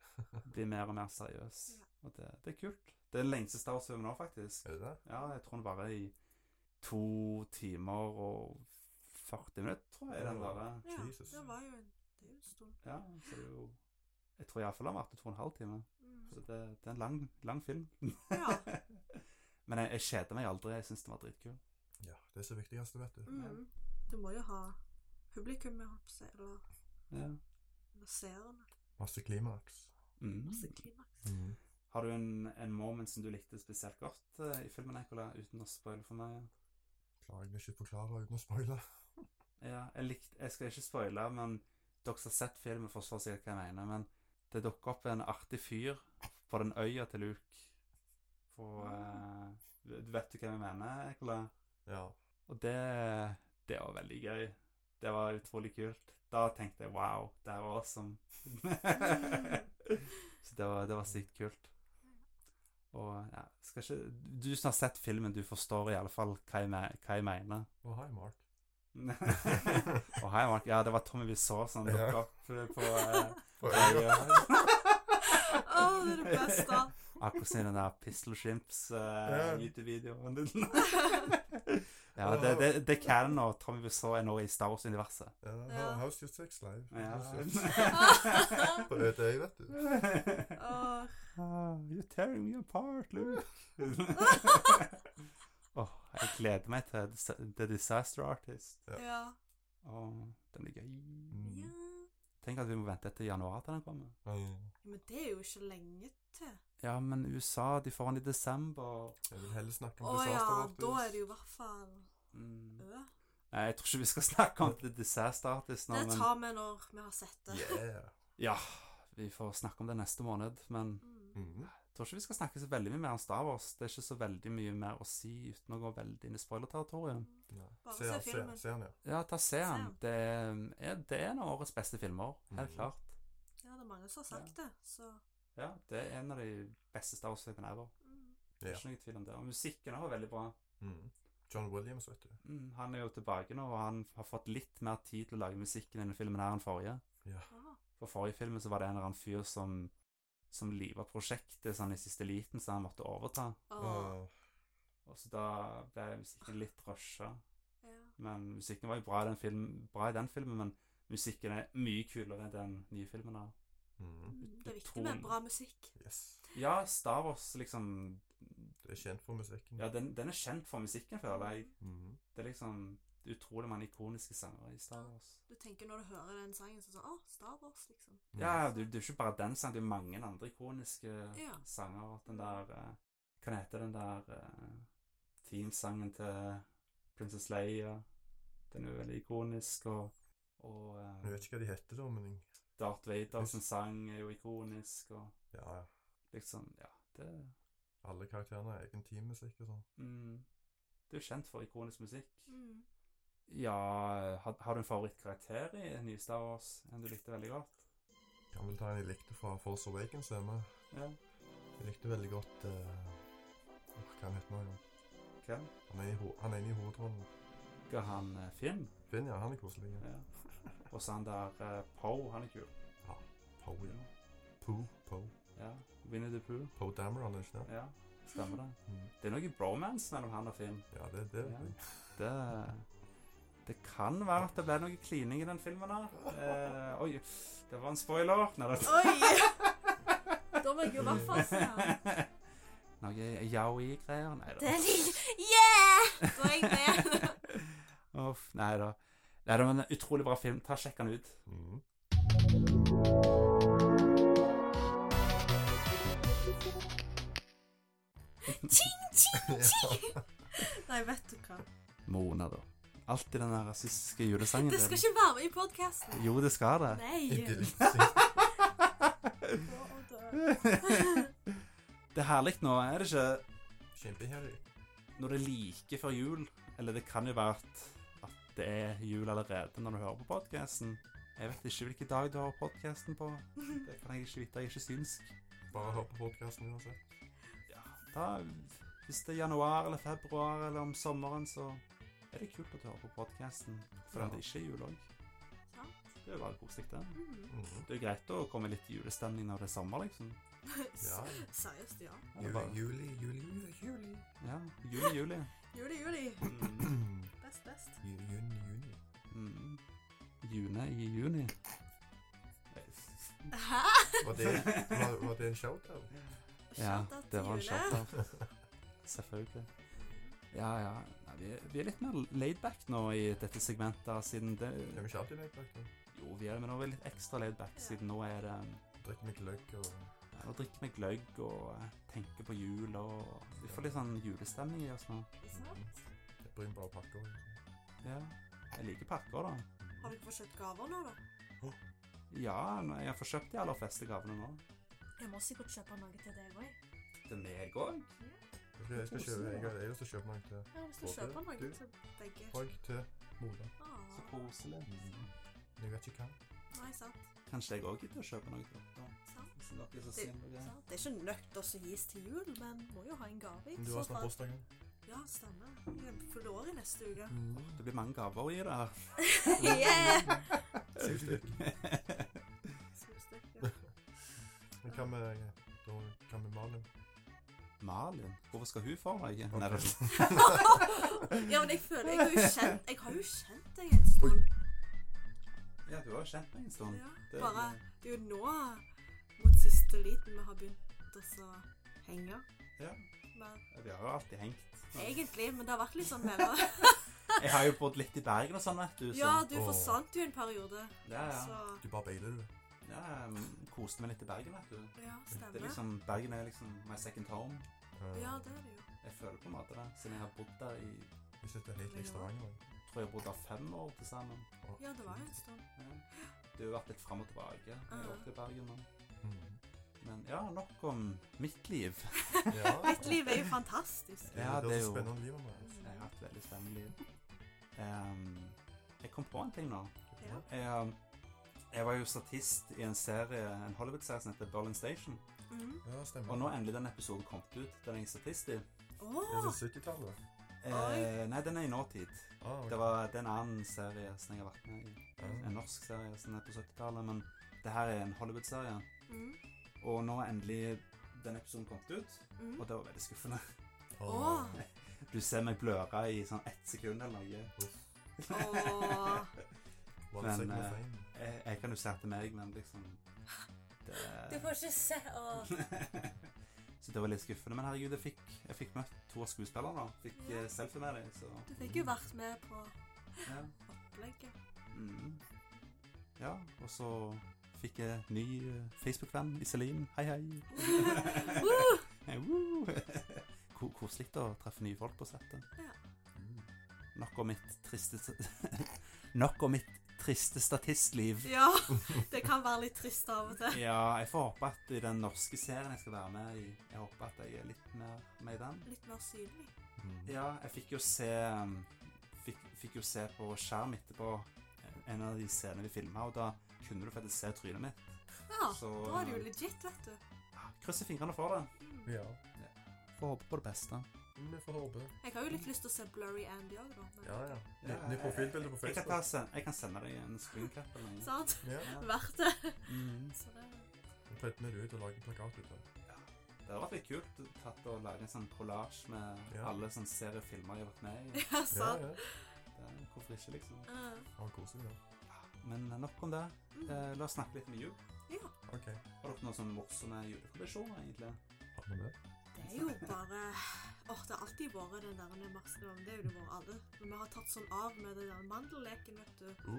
eh, blir mer og mer seriøs. Ja. Og det, det er kult. Det er den lengste Star Wars-filmen nå, faktisk. Er det det? Ja, jeg tror den varer i to timer og 40 minutter, tror jeg den Ja. varer. ja. Jesus. Det var jo en Det er jo en stund. Ja, så det er jo Jeg tror iallfall den varte to og en halv time. Mm. Så det, det er en lang, lang film. Ja. Men jeg, jeg kjeder meg aldri. Jeg syns den var dritkul. Ja, det er så viktigste, vet du. Mm. Du må jo ha publikum, jeg holdt på å si, eller, Ja. eller seerne. Masse klimaks. Mm. Masse klimaks. Mm. Har du en, en moment som du likte spesielt godt eh, i filmen, Nicola, uten å spoile for meg? Klarer jeg vil ikke forklare uten å spoile. Ja, jeg, likte, jeg skal ikke spoile, men dere som har sett filmen, forstår sikkert hva jeg mener. Men det dukker opp en artig fyr på den øya til Luke. For eh, du- Vet du hva jeg mener, Nicola? Ja. Og det, det var veldig gøy. Det var utrolig kult. Da tenkte jeg wow, det her var awesome. Så det var, det var sykt kult. Og ja, skal ikke Du som har sett filmen, du forstår i alle fall hva jeg, me- hva jeg mener. Og hi, Mark. og hei, Mark. Ja, det var Tommy Wiseau som dukket Ja. opp eh, på eh, på For øya. Å, det er det beste. Akkurat som i den der Pistol Shrimps eh, Ja. YouTube-videoen. ja, det, det, det er canon, og Tommy Wiseau er nå i Star Wars-universet. Ja, Ja. how- How's your sex life? Ja. How's your- På øde øy, vet du. Åh, Ah, You're tearing me apart, Luke. Åh, jeg gleder meg til Dis- The Disaster Artist. ja. Åh, den blir gøy. Mm. ja. Tenk at vi må vente til januar til den kommer. Mm. Men det er jo ikke lenge til. Ja, men USA, de får den i desember. Jeg vil heller snakke Å om disaster ja, artist. da er det jo i hvert fall Mm. Ø. Nei, jeg tror ikke vi skal snakke om The Disaster Artist nå, Det men tar vi når vi har sett det. Yeah. ja, vi får snakke om det neste måned. Men Mm. Mm. jeg tror ikke vi skal snakke så veldig mye mer om Star Wars. Det er ikke så veldig mye mer å si uten å gå veldig inn i spoiler-territorium. Nei. Bare Se se han, se han, filmen. se han, ja. Ja, ta se Se den. den. Det er, det er en av årets beste filmer, helt Mhm. klart. Ja, det er mange som har sagt det, så Ja, det er en av de beste Star Wars-filmene ever. mm. Det er Ja. Ikke noen tvil om det. Og musikken er veldig bra. Mm. John Williams, vet du. Mm, han er jo tilbake nå, og han har fått litt mer tid til å lage musikken enn filmen her enn forrige. Ja. ja. For forrige filmen så var det en eller annen fyr som, som liva prosjektet sånn i siste liten, så han måtte overta. Åh, Og så da ble musikken litt rusha. ja. Men musikken var jo bra i den, film, bra i den filmen, men musikken er mye kulere enn den nye filmen her. Mm. Mm, Det er viktig med bra musikk. Yes. Ja, Star Wars liksom Det er kjent for musikken. Ja, den, den er kjent for musikken, føler jeg. Mm. Det er liksom det er utrolig mange ikoniske sangere i Star Wars. Du tenker når du hører den sangen, så sånn Å, Star Wars, liksom. Ja, det, det er ikke bare den sangen, det er mange andre ikoniske Ja. sanger. Den der eh, Hva heter den der eh, teamsangen til Princess Leia? Den er jo veldig ikonisk, og, og eh, Jeg vet ikke hva de heter, da, men Darth Vader sin sang er jo ikonisk, og ja, ja. liksom Ja, det alle karakterene har egen teammusikk og sånn. mm, Det er jo kjent for ikonisk musikk. Mm. Ja, har, har du en favorittkarakter i nye Star Wars enn du likte veldig godt? Kan vel ta en jeg likte fra Force Awakens hjemme. Ja. Jeg likte veldig godt eh, åh, Hva han heter nå igjen? Hvem? Han er i ho- Han er inne i hovedrollen. Ga han eh, Finn? Finn, ja. Han er koselig. Ja. Ja. Og så han der eh, Poe, han er kul. Po, Oh, ja. Po, Po. Ja. Winnie the Pooh. Po Dameron, er det ikke det? Ja, stemmer det. Mm. Det er noe bromance mellom han og Finn. Ja, det, det Ja. vet jeg. Det Det kan være at det ble noe klining i den filmen her. Eh, oi, det var en spoiler. Nei, det Oi! Da må jeg jo i hvert fall se den. Noe yaoi-greier. Nei da. Det er Yeah! Da er jeg med. Uff, nei da. Nei, det var en utrolig bra film. Ta og Sjekk den ut. Mm. Nei, vet du hva. Mona, da. Alltid den der rasistiske julesangen Det skal ikke være med i podkasten. Jo, det skal det. Nei. Idyllisk. Å, dø. det er herlig nå, er det ikke? Kjempeherlig. Når det er like før jul, eller det kan jo være at, at det er jul allerede når du hører på podkasten. Jeg vet ikke hvilken dag du hører podkasten på. Det kan jeg ikke vite, jeg er ikke synsk. Bare hør på podkasten uansett. Ja, da, hvis det er januar eller februar eller om sommeren, så er det kult at du hører på podkasten. For Ja. det ikke er jul òg. Sant. Det er jo bare koselig, det. Mm. Mm. Det er jo greit å komme litt i julestemning når det er sommer, liksom. Ja. Seriøst, ja. Eller Juli, bare- juli, juli, juli, juli. Ja, juli, juli. Juli, juli. Mm. Best, best. Ju- Juni, juni. Mm. June i juni. Hæ? Var det, var, var det en shout-out? Ja, Shout out det til var en Jule. shout-out. Selvfølgelig. Ja, ja. Nei, vi, er- vi er litt mer laidback nå i dette segmentet, siden det Er vi ikke alltid med på Jo, vi er det, men nå er vi litt ekstra laidback, siden nå er det um, Drikker mye løk og ja, Nå drikker vi gløgg og eh, tenker på jul og Vi får litt sånn julestemning i oss nå. Ikke sant? brun bare sånn. pakker. Ja. Jeg liker pakker, da. Har dere fått kjøpt gaver nå, da? Ja, nå- jeg har fått kjøpt de aller fleste gavene nå. Jeg må sikkert kjøpe noe til deg òg. Det er meg òg. Jeg skal, jeg skal kjøpe, jeg, jeg skal kjøpe noe til Ja, hvis du Både kjøper noe du- til begge. Prag til Moda. Ah. Så koselig. Men Jeg vet ikke hva. Nei, sant. Kanskje jeg òg gidder å kjøpe noe til dere. sant, Hvis dere er så snille. sant. Det er ikke nødt også å gis til jul, men må jo ha en gave. Men Du har snart bursdag. Ja, stemmer. Jeg fyller år i neste uke. Mm. Det blir mange gaver å gi det her. Yeah! Syv stykker. Syv stykker. Men hva med, da, hva med Malin? Malin, hvorfor skal hun få noe? Ok. Nei, det- Ja, men jeg føler jeg har jo kjent, jeg har jo kjent deg en stund. Ja, du har jo kjent meg en stund. Ja, sånn. Det- bare det er jo nå, mot siste liten, vi har begynt oss å henge. Ja. Men Vi har jo alltid hengt. egentlig, men det har vært litt sånn mer Jeg har jo bodd litt i Bergen og sånn, vet du. Så. Ja, du Åh. forsvant jo en periode, ja, ja. så Du bare beiler, du. ja jeg koste um, meg litt i Bergen, vet du. Det er Ja, sånn- stemmer. liksom, Bergen er liksom my second home. Eh, Ja, det er det jo. Jeg føler på en måte det, siden jeg har bodd der i Hvis dette er helt lik Stavanger. da. tror jeg har bodd der fem år til sammen. Og- Ja, det var jo en stund. Ja. Det har jo vært litt fram og tilbake. Jeg har vært i Bergen nå. Mm. Men ja, nok om mitt liv. Ja. Mitt liv er jo fantastisk. Det Ja, er det er et jo- spennende liv. Andreas. Jeg har hatt veldig spennende liv. Ehm, jeg kom på en ting nå. Ja. Jeg, um, jeg var jo statist i en serie, en Hollywood-serie som heter Berlin Station. Mm. Ja, stemmer. Og nå er endelig den episoden kommet ut. Den er jeg statist i. Det er Åh, så 70-tallet. Eh, nei, den er i nåtid. Ah, ok. Det var det er en annen serie som jeg har vært med i. En Ja. norsk serie som er på 70-tallet. Men det her er en Hollywood-serie. Mm. Og nå er endelig den episoden kommet ut. Mm. Og det var veldig skuffende. Oh. Åh. Du ser meg bløre i sånn ett sekund eller noe. Åh. One Men, second of eh, fame. Jeg, jeg kan jo se til meg, men liksom det, ikke se Åh. Så det var litt skuffende. Men herregud, jeg fikk, jeg fikk møtt to av skuespillerne. Fikk Ja. eh, selfie med dem, så Du fikk jo vært med på ja. opplegget. Mm. ja. Og så fikk jeg ny eh, Facebook-venn, Iselin. Hei, hei. Woo! Hei, woo. Ko- Koselig å treffe nye folk på settet. Mm. Nok om mitt triste Nok om mitt triste statistliv. Ja, det kan være litt trist av og til. Ja, jeg får håpe at i den norske serien jeg skal være med i, jeg håper at jeg er litt mer med i den. Litt mer synlig. Mm. Ja, jeg fikk jo se um, Fikk, fikk jo se på skjerm etterpå eh, en av de scenene vi filma, og da kunne du faktisk se trynet mitt. Ja, Så da er det jo legit, vet du. ja, krysser fingrene for det. Mm. Ja. Får håpe på det beste. Vi får håpe. Jeg har jo litt lyst til å se Blurry Andy òg, da. men- Ja, ja. Ny- eh, Nytt profilbilde på Jeg kan, ta, Facebook. sen- jeg kan sende deg en screencap eller noe. Sant? Ja. Ja. Verdt det. Mm. Så det Nå putter vi det ut og lager en plakat ut av det. Det hadde vært litt kult tatt og lage en sånn collage med Ja. alle sånne seriefilmer jeg har vært med i. Ja, Ja, sant. ja. Ah, Det, hvorfor ikke, liksom? Uh, Ha en koselig da. Men nok om det. mm. Eh, la oss snakke litt om jul. Ja. Ok. Har dere noen sånne morsomme juletradisjoner, egentlig? Har vi med? Det er jo bare Åh, det har alltid vært den der marsdagen. Det er jo det våre alle. Men vi har tatt sånn av med den der mandelleken, vet du,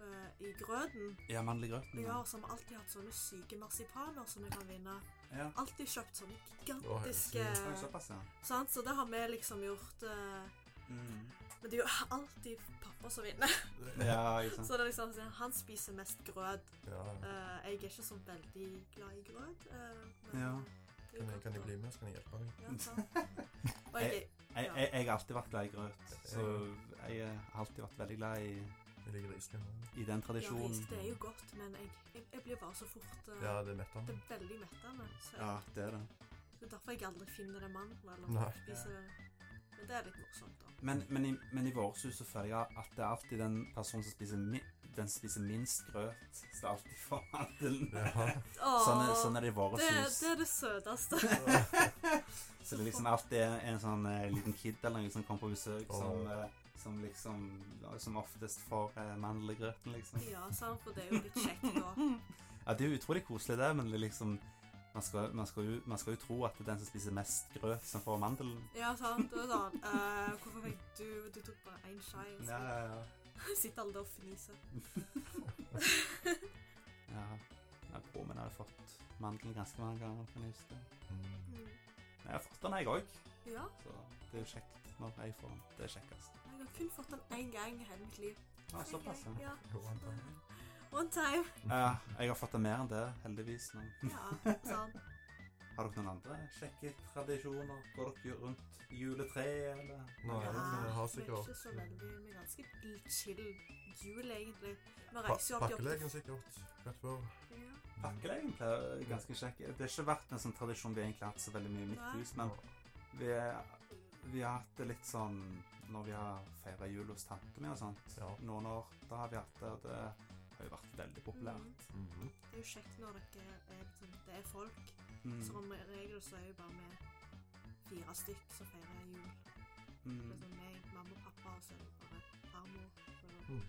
eh, i grøten. Ja, mandelgrøten. Ja, så har vi alltid hatt sånne syke marsipaner som vi kan vinne. ja. Alltid kjøpt sånne Åh, jeg gigantiske synes- Oi, Såpass, ja. Sant? Så det har vi liksom gjort. eh, Mm. Men det er jo alltid pappa som vinner. Ja, ikke sant. Så det er liksom sånn, han spiser mest grøt. Ja, ja. Eh, jeg er ikke så veldig glad i grøt. eh, men Ja. det er jo Kan jeg, godt kan jeg å- bli med? Så kan jeg hjelpe deg. Ja, sant. Og jeg, Jeg, jeg, jeg har alltid vært glad i grøt, så jeg eh, har alltid vært veldig glad i, Jeg ligger i iskrem. nå. i den ja, tradisjonen. risk, det er jo godt, men jeg, jeg, jeg blir bare så fort eh, Ja, det er mettet. Det er veldig mettende. Så Ja, jeg, det er det. Det er derfor jeg aldri finner den mandelen. Eller Nei. spiser det. Men det er litt morsomt, da. Men, men, i, men i vårt hus så føler jeg at det er alltid den personen som spiser, mi, den som spiser minst grøt, som alltid får mandelen. Ja. Sånn, er- Åh, sånn er det i vårt det, hus. det er det søteste. Så det er liksom alltid en, en sånn eh, liten kid eller noe som kommer på besøk, som, eh, som liksom Som oftest får eh, mandelgrøten, liksom. Ja, sant, for det er jo litt kjekt da. Ja, det er jo utrolig koselig det, men det er liksom man skal, man, skal jo, man skal jo tro at det er den som spiser mest grøt, som får mandelen. Ja, sant. Og sånn eh, Hvorfor fikk du Du tok bare én skje. og så ja, ja. Sitter alle der og fniser. ja. Jeg tror men jeg har fått mandelen ganske mange ganger. kan jeg huske. Mm. Mm. Men jeg har fått den, jeg òg, Ja, så det er jo kjekt når jeg får den. Det er kjekkest. jeg har kun fått den én gang i hele mitt liv. Ja, såpass, ja. ja. Jo, vent da. One time. Ja, jeg har fått den mer enn det, heldigvis. Men Ja, sant. Har dere noen andre kjekke tradisjoner? Går dere rundt juletreet, eller? Nei, Ja, men jeg har vi er sikkert ikke så veldig, vi er ganske chill jul, egentlig. Vi pa reiser jo opp til Pakkelegen sikkert. Rett før. Ja. Pakkelegen pleier å være eh, ganske kjekk. Det har ikke vært en sånn tradisjon vi egentlig har hatt så veldig mye i mitt Nei. hus, men vi, vi har hatt det litt sånn når vi har feira jul hos tante mi og sånt. Ja. Noen år da har vi hatt det, og det har jo vært veldig populært. Mhm. Det er jo kjekt når dere er liksom, Det er folk. Mm. Som om regel så er jo bare vi fire stykk som feirer jul. Det er Mm. sånn meg, mamma og pappa, og så er det bare farmor. Så- Mm.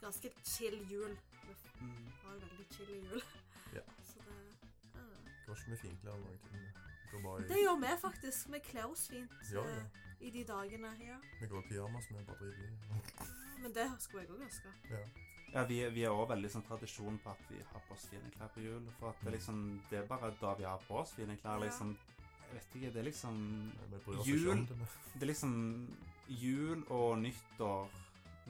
Ganske chill jul. Vi Mm. har jo veldig chill i jul. Ja. Så det ja. Går ikke med finklær eller noen ting. Går bare Det i gjør vi faktisk. Vi kler oss fint Ja, eh, ja. i de dagene. Ja. Vi går i pyjamas med bare driver i. Men det skulle jeg òg ønske. Ja. Ja, vi, vi er også veldig sånn tradisjon på at vi har på oss fine klær på jul. For at det er liksom Det er bare da vi har på oss fine klær, Ja. liksom. Jeg vet ikke, det er liksom Vi bryr oss Jul. ikke om det. men- Det er liksom jul og nyttår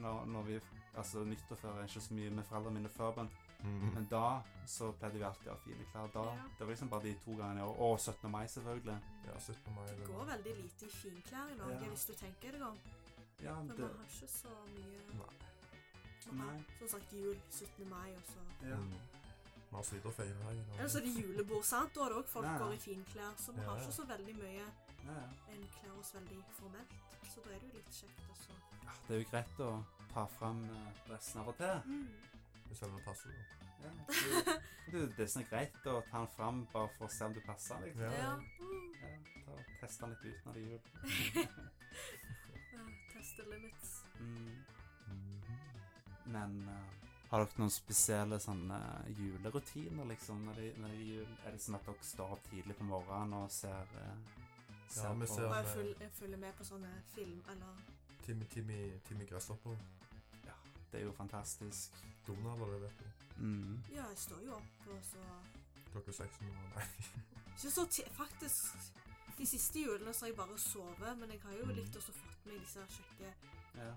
når, når vi Altså, nyttår før er ikke så mye med foreldrene mine før, men, Mhm. men da så pleide vi alltid å ha fine klær. Da, Ja. Det var liksom bare de to gangene i år. Og 17. mai, selvfølgelig. Ja, 17. mai. Det eller- går veldig lite i finklær i Norge, Ja. hvis du tenker deg om. Ja, Men vi det har ikke så mye Nei. Man har, Nei. Som sagt, jul 17. mai, og så ja. Mhm. Vi har sitt å feire her. i Norge. Eller så er det julebord, sant? Da er det òg folk Ja. går i finklær, så vi Ja, har ja. ikke så veldig mye. Ja, ja. En kler oss veldig formelt, så da er det jo litt kjekt også. Ja, Det er jo greit å ta fram eh, dressen av og til. Mm. I selve passordet. Ja, det, det, det er sånn greit å ta den fram bare for å se om du passer. Liksom. Ja. Ja. Mm. Ja, ta og Teste den litt ut når det er jul. Eh, Teste limits. Mm. Mhm. Men eh, har dere noen spesielle sånne eh, julerutiner, liksom? Når det, når det er jul? Er det sånn at dere står opp tidlig på morgenen og ser, eh, Ja, vi Og ser- jeg, føl jeg følger med på sånne film, eller Timmy, Timmy, Timmy Gresshopper. Det er jo fantastisk. Donald, det vet du. Mm. Ja, jeg står jo opp, og så Klokka seks om morgenen. Nei. Ikke så ti Faktisk, de siste julene så har jeg bare sovet, men jeg har jo Mm. likt også fått meg disse kjekke Ja.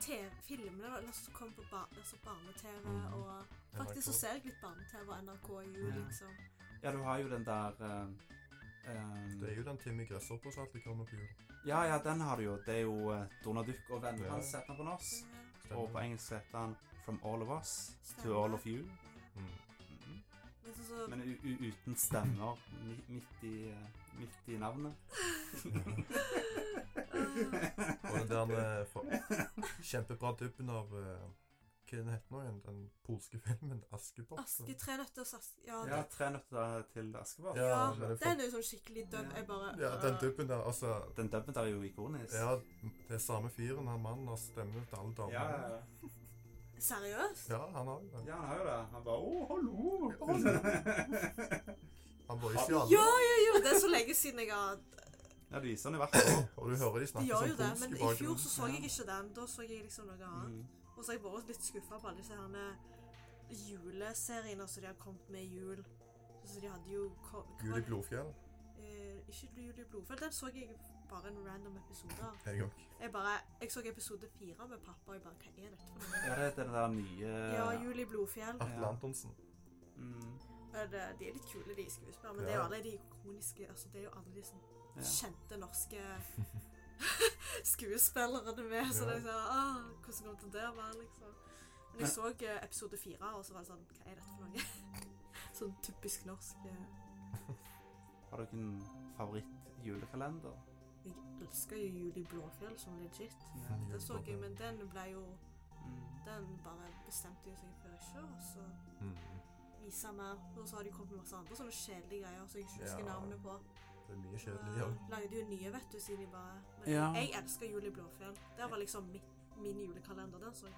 TV-filmene, eller som kommer på bar altså barne-TV, Mhm. og faktisk så NRK. ser jeg litt barne-TV og NRK i jul, Ja. liksom. ja, du har jo den der eh, eh, Det er jo den Timmy Gresshopper som alltid kommer på jul. Ja, ja, den har du jo. Det er jo eh, Donald Duck og vennene Ja. hans heter den på norsk. Ja, Og på engelsk heter han From All of Us to Stemmer. All of You. ja. Mm. Mhm. Men så, så Men u u uten stemmer mi- midt i, eh, midt i navnet. Og den der eh, fa- kjempebra dubben av eh, Hva er den heter nå igjen? Den polske filmen Askepott? Aske, tre nøtters aske Ja, Ja, den- Tre nøtter til Askepott. Ja, Ja, men det er den er jo sånn skikkelig døm. Ja. Jeg bare Ja, den dubben der, altså Den dubben der er jo ikonisk. Ja, det er samme fyren, han mannen har stemme til ja, alle damene. ja, ja. Seriøst? Ja, han har jo det. Ja, han har jo det. Han bare 'Å, hallo'. Han voicer jo alle. Ja, ja, ja! Det er så lenge siden jeg har ja, de viser han i hvert fall. Og du hører de De snakker gjør jo sånn det, polsk men i i fjor bakgrunnen. så så jeg ikke den. Da så jeg liksom noe annet. Mm. Og så er jeg bare litt skuffa på alle disse herne juleseriene som de har kommet med i jul. Så de hadde jo ko- hva Gul var i det? blodfjell. Eh, ikke Jul i blodfell. Den så jeg bare en random episode av. Jeg òg. Jeg bare, jeg så episode fire med pappa, og jeg bare Hva er dette for noe? Ja, det er den der nye Ja, Jul i blodfjell. Atle Antonsen. Mm. Ja, Eh, det, de er litt kule, de skuespillerne. Men det er jo Ja. alle de ikoniske altså Det er jo alle de sånn Ja. kjente norske skuespillerne med. Så Ja. det er sånn ah, Hvordan kom det der med, liksom? Men jeg så eh, episode fire, og så var det sånn Hva er dette for noe? sånn typisk norsk. eh. Har dere en favoritt-julekalender? Jeg elsker jo Juli Blåfjell sånn legit. Ja. Det så jeg, men den ble jo Mm. Den bare bestemte jo seg for ikke og så Mm. vise mer. Og så har de kommet med masse andre sånne kjedelige greier som jeg ikke husker Ja. navnet på. Det er mye kjedelig. Ja. Lagde jo nye, vet du, siden de bare Men Ja. jeg elsker Jul i Blåfjell. Det var liksom min, min julekalender. Den så jeg.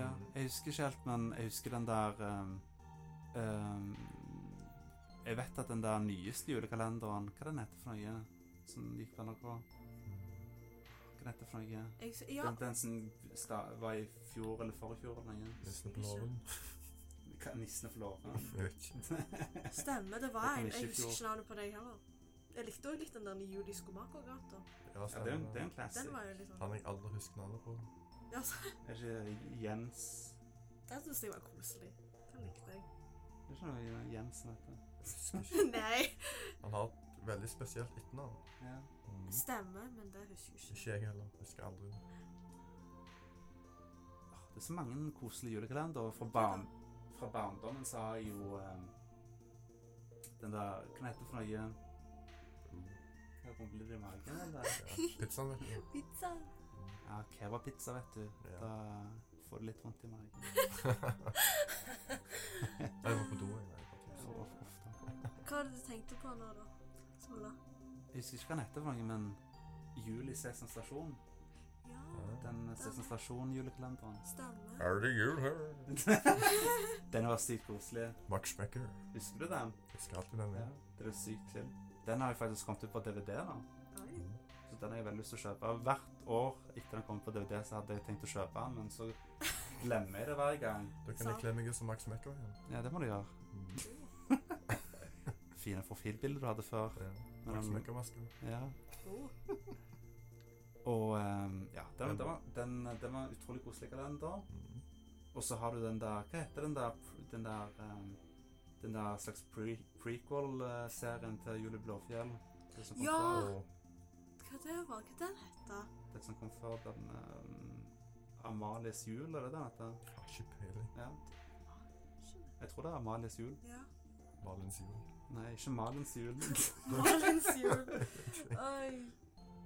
Ja, Mm. jeg husker ikke helt, men jeg husker den der ehm, ehm, Jeg vet at den der nyeste julekalenderen Hva den heter for noe? Som gikk på NRK? Hva Mm. den heter for noe? jeg så- ja, Den, den som sta, var i fjor eller forfjor eller noe? Nissene på låven. Hva- Nissene på låven. Jeg vet ikke. stemmer. Det Det var kom en. ikke i Jeg husker fjor. ikke navnet på deg heller. Jeg likte òg litt den der Juli Skomakergata. Ja, Ja, det er jo- det er stemmer. en classic. Den var jo litt Han sånn jeg aldri husker navnet på. ja, så, Er ikke Jens Den syns jeg var koselig. Den likte jeg. Det er ikke noe Jens som heter Husker ikke. Nei. Han har et Veldig spesielt etternavn. Ja. Mm. Stemmer, men det husker jeg ikke. Ikke jeg heller. Husker aldri. det. Åh, Det er så mange koselige julekalendere. Fra, Det er barn, fra barndommen så har jeg jo ehm, den der Hva heter det for noe? Mm. Jeg rumler i magen. den der. Ja. Pizzaen, vet du. Pizza. Ja, kebabpizza, vet du. Ja. Da får du litt vondt i magen. Nei, Jeg var på do en gang. faktisk. Så of- ofte. Hva var det du tenkte på nå, da? Sola? Jeg husker ikke hva den heter, for noe, men Jul i Sesam Stasjon. Ja, Den Sesam Stasjon-julekalenderen. stemmer. Er det jul her? Den var sykt koselig. Max Schmecker. Husker du den? Husker alltid den. Ja. Ja. Det var sykt chill. Den har jeg faktisk kommet ut på DVD nå. Oi. Mm. Så den har jeg veldig lyst til å kjøpe. Hvert år etter den kom på DVD, så hadde jeg tenkt å kjøpe den, men så glemmer jeg det hver gang. Da kan jeg kle meg ut som Max Schmecker igjen. Ja, det må du gjøre. Mm. Fine profilbilder du hadde før. Ja. men- Max Schmecker-masken. Ja. Oh. Og ehm, ja, den, den, var, den, den var utrolig koselig kalender. Mm. Og så har du den der Hva heter den der pr- Den der, ehm, den der slags pre prequel-serien til Julie Blåfjell? Det som kom Ja! før- Og Hva det var Hva den heter? Det som kom før den ehm, Amalies jul, er det det den heter? har ikke peiling. Ja. Jeg tror det er Amalies jul. Ja. Valens jul. Nei, ikke Malens jul. Marlins jul. Mm. Oi.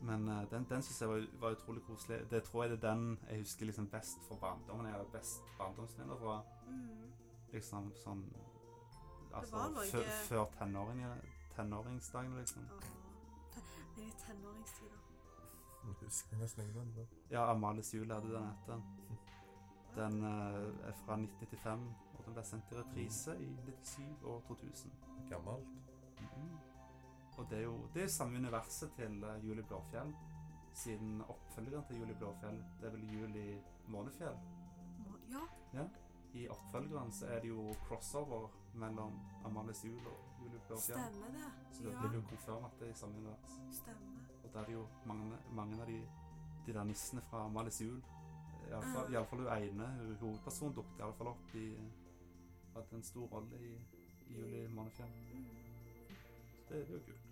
Men eh, den, den syns jeg var, var utrolig koselig. Det tror jeg det er den jeg husker liksom best fra barndommen. Jeg har best barndomsminner fra Mm. liksom sånn Altså var noe- fø- før tenåringen- tenåringsdagene, liksom. Åh. Det er tenåringstider. Jeg Husker nesten ikke den. da. Ja, Amalies jul hadde den etter. Den eh, er fra 1995, og den ble sendt i reprise i 97 og 2000. Gammelt. Mm-hmm. Mhm. Og det er jo det er jo samme universet til eh, Julie Blåfjell, siden oppfølgeren til Julie Blåfjell, det er vel Julie Månefjell. Må- Ja. I oppfølgeren så er det jo crossover mellom Amalies jul og Julie Blåfjell. Stemmer det. Så det blir Ja, jo konfirm at det er i samme univers. stemmer. Og der er jo mange, mange av de, de der nissene fra Amalies jul. Ah. Iallfall iallfall hun ene hun- hovedpersonen dukket iallfall opp i Hadde en stor rolle i, i Julie Månefjell. Mm. Så det, det er jo kult.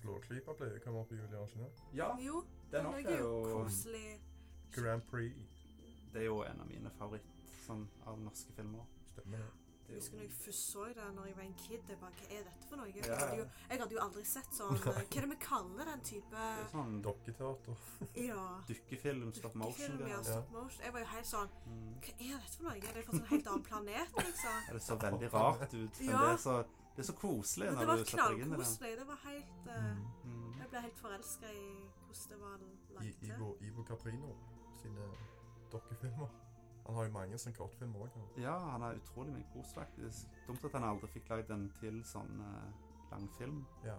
Flåklypa pleier å komme opp i juli, har ikke det? Ja, Jo, den den opp er er jo jo koselig. Grand Prix. Det er jo en av mine favoritt sånn, av norske filmer. Stemmer det. Det er Jeg husker jo, når jeg først så det når jeg var en kid. Jeg bare, Hva er dette for noe? Jeg Ja. hadde jo, jeg hadde jo aldri sett sånn eh, Hva er det vi kaller den type det er sånn Dokketeater. Ja. dukkefilm, sånn stop Ah. dukkefilm, ja, motion-greier. ja. stop motion. Jeg var jo helt sånn Mm. Hva er dette for noe? Det er fra en sånn helt annen planet, liksom. Ja, det så veldig rart ut, men Ja. det, er så, det er så koselig Men det når var du setter deg inn i det. knallkoselig. Det var helt eh, Mm. Mm. Jeg ble helt forelska i hvordan det var I, lagt til. Ivo, Ivo Caprino sine dokkefilmer. Han har jo mange som kortfilmer òg. Ja, han er utrolig mye kos, faktisk. Dumt at han aldri fikk lagd en til sånn eh, langfilm. Ja.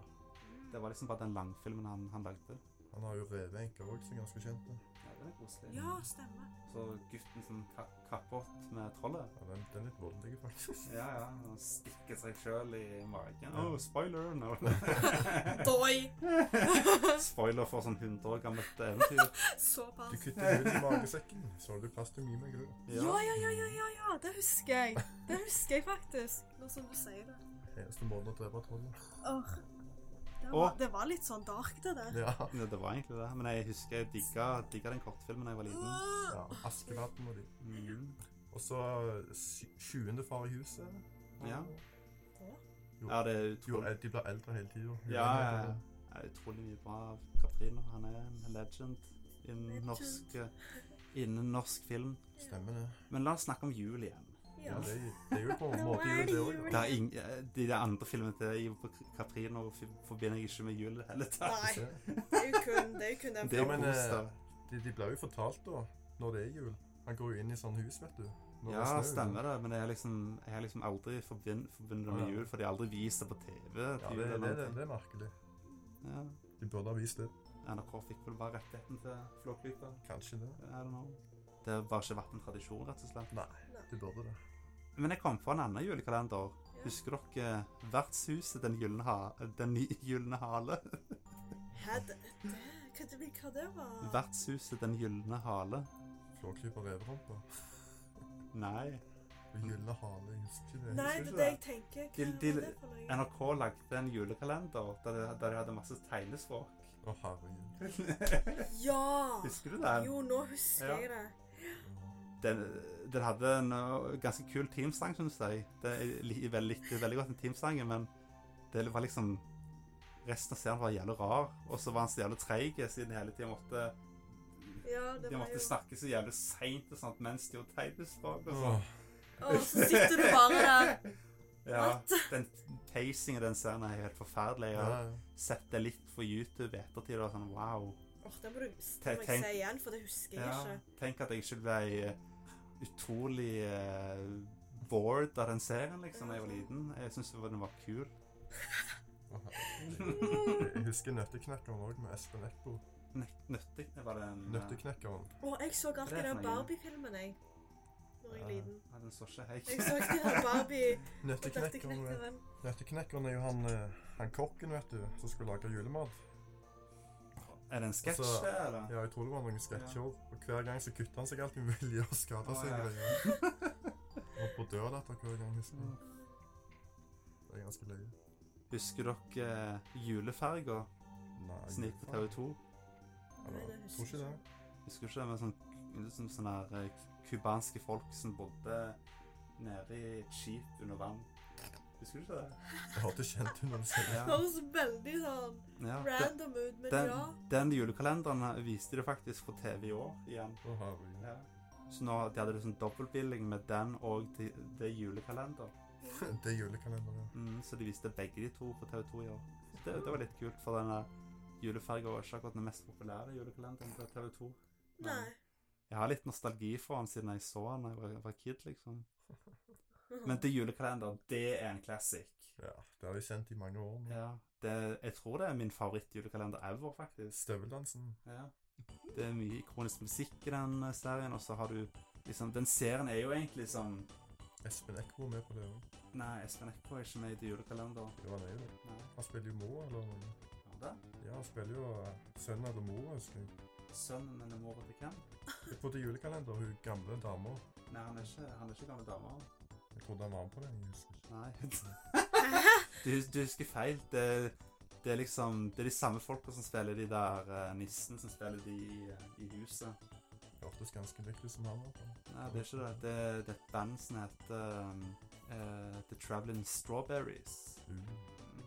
Det var liksom bare den langfilmen han, han lagde. Han har jo Reveenker òg, som er ganske kjent. da. Ja, den er koselig. Ja, stemmer. Så gutten som ka kappåt med trollet. Ja, den, den er litt voldelig, faktisk. Ja, ja, han stikker seg sjøl i magen. Ja. Oh, spoiler! No. Doi! spoiler for sånn 100 år gammelt eventyr. Du Såpass. kutter hull i magesekken, så du plass til mye mer gull. Ja, ja, ja, ja, ja, ja, det husker jeg. Det husker jeg faktisk. Nå som du sier det. Eneste måten å drepe trollet. Åh. Det Og- var, det var litt sånn dark, det der. Ja. Ja, det var egentlig det. Men jeg husker jeg digga, digga den kortfilmen da jeg var liten. Uh, ja. Askeladden og de. Mhm. Og så sy- sjuende far i huset. Ja. Ja. Ja, det er Jo, utrolig, de blir eldre hele tida. ja, ja, ja. Det er utrolig mye bra av Katrine. Han er en legend innen Legend. norsk, eh, innen norsk film. Stemmer det. Men la oss snakke om jul igjen. Ja, Ja. det, det er jo på en Nå måte er jul, det det òg. jul. Det er ing, eh, de der andre filmene til Ivo på Katrino forbinder jeg ikke med jul i det hele tatt. Nei, det er jo kun, det er jo kun den Det er Ja, men, kos, eh, da. De, de blir jo fortalt da, når det er jul. Han går jo inn i sånn hus, vet du. Når Ja, stemmer det. Men jeg har liksom, jeg har liksom aldri forbind- forbundet det Ja. med jul, for de har aldri vist det på TV. til Ja, det, jul eller det, det, noen ting. det er merkelig. Ja. De burde ha vist det. NRK fikk vel bare rettigheten til Flåklypa. Kanskje det. I don't know. Det har bare ikke vært en tradisjon, rett og slett. Nei, de burde det. Men jeg kom på en annen julekalender. Ja. Husker dere eh, Vertshuset Den gylne ha den ny- gylne hale? Hæ, det, det, hva, det, hva det var? Vertshuset Den gylne hale? Flåklypa og reverumpa. Nei. Gylne hale, jeg husker ikke det. Nei, det er det jeg tenker. Hva De- de- var det for noe? NRK lagde en julekalender der de, der de hadde masse tegnespråk. Å, herregud. Ja! Husker du den? Jo, nå husker Ja. jeg det. Den, den hadde en uh, ganske kul teamsang, synes jeg. Det, jeg li- vel- likte veldig godt den teamsangen, men det var liksom Resten av serien var jævlig rar, og så var han så jævlig treig siden hele tida måtte Ja, det De var måtte jo snakke så jævlig seint og sånt mens de gjorde tegnespråk og sånn. Åh, Å, så sitter du bare der. Ja, What? den pacingen i den serien er helt forferdelig. Jeg ja, har ja. sett det litt på YouTube i ettertid og sånn wow. Åh, det må du det Tenk- må jeg tenk- si igjen, for det husker jeg Ja, ikke. tenk at jeg ikke ble eh, utrolig eh, bored av den serien liksom da jeg var liten. Jeg syntes den var kul. Å, herregud. Jeg husker Nøtteknekkeren òg, med Espen Eckbo. Nøtt- Nøttig det var den. eh, Nøtteknekkeren. Å, jeg så Hva er alltid det for den noe? Barbie-filmen, jeg. Når jeg Ja. var liten. eh, Nei, den så ikke jeg. Jeg så alltid den Barbie og Nøtteknekkeren eh, Døtteknekkeren. Nøtteknekkeren er jo han, eh, han kokken, vet du, som skulle lage julemat. Er det en sketsj, Altså, eller? Ja, jeg tror det var noen sketsjer. Og hver gang så kutta han seg alltid med vilje og skada Å, seg. ja. greier. Holdt på å dø datter hver gang, husker jeg. Det er ganske løye. Husker dere eh, juleferga Nei, som gikk på TV 2? Nei, Eller, det tror husker jeg ikke det. ikke. Husker du ikke det med sånn, liksom sånne her, eh, kubanske folk som bodde nede i et skip under vann? Husker du ikke det? Jeg hørte kjent ut når du sa det. Det høres veldig sånn Ja, den, random ut, men den, ja. den julekalenderen viste det faktisk på TV i år igjen. Å, herregud. Så nå de hadde liksom dobbeltbilling med den og de, det julekalender. Det er julekalenderen. Mm, så de viste begge de to på TV 2 i år. Så Det, det var litt kult, for denne juleferga var ikke akkurat den mest populære julekalenderen på TV 2. Nei. Jeg har litt nostalgi for han siden jeg så han da jeg var, var kid, liksom. Men det julekalenderen, det er en classic. Ja, det har vi sendt i mange år. nå. Ja, det, jeg tror det er min favorittjulekalender ever, faktisk. Støveldansen. Ja. Det er mye ikonisk musikk i den eh, serien, og så har du liksom Den serien er jo egentlig som Espen Eckbo er med på det òg. Nei, Espen Eckbo er ikke med i det julekalenderen. Jo, han er jo det. Nei, Han spiller jo mor, eller noe. har du det? Ja, han spiller jo eh, sønnen eller mor, husker jeg. Sønnen eller mora til hvem? Jeg bodde i julekalender, hun gamle dama. Nei, han er ikke, han er ikke gammel dame. han. Jeg trodde han var med på den, jeg husker ikke. Nei. du, du husker feil. Det, det er liksom Det er de samme folka som spiller de der eh, nissen som spiller de i, eh, i huset. Det hørtes ganske likt ut som han var på. Nei, det er ikke det. Det, det er et band som heter um, eh, The Traveling Strawberries. Mm,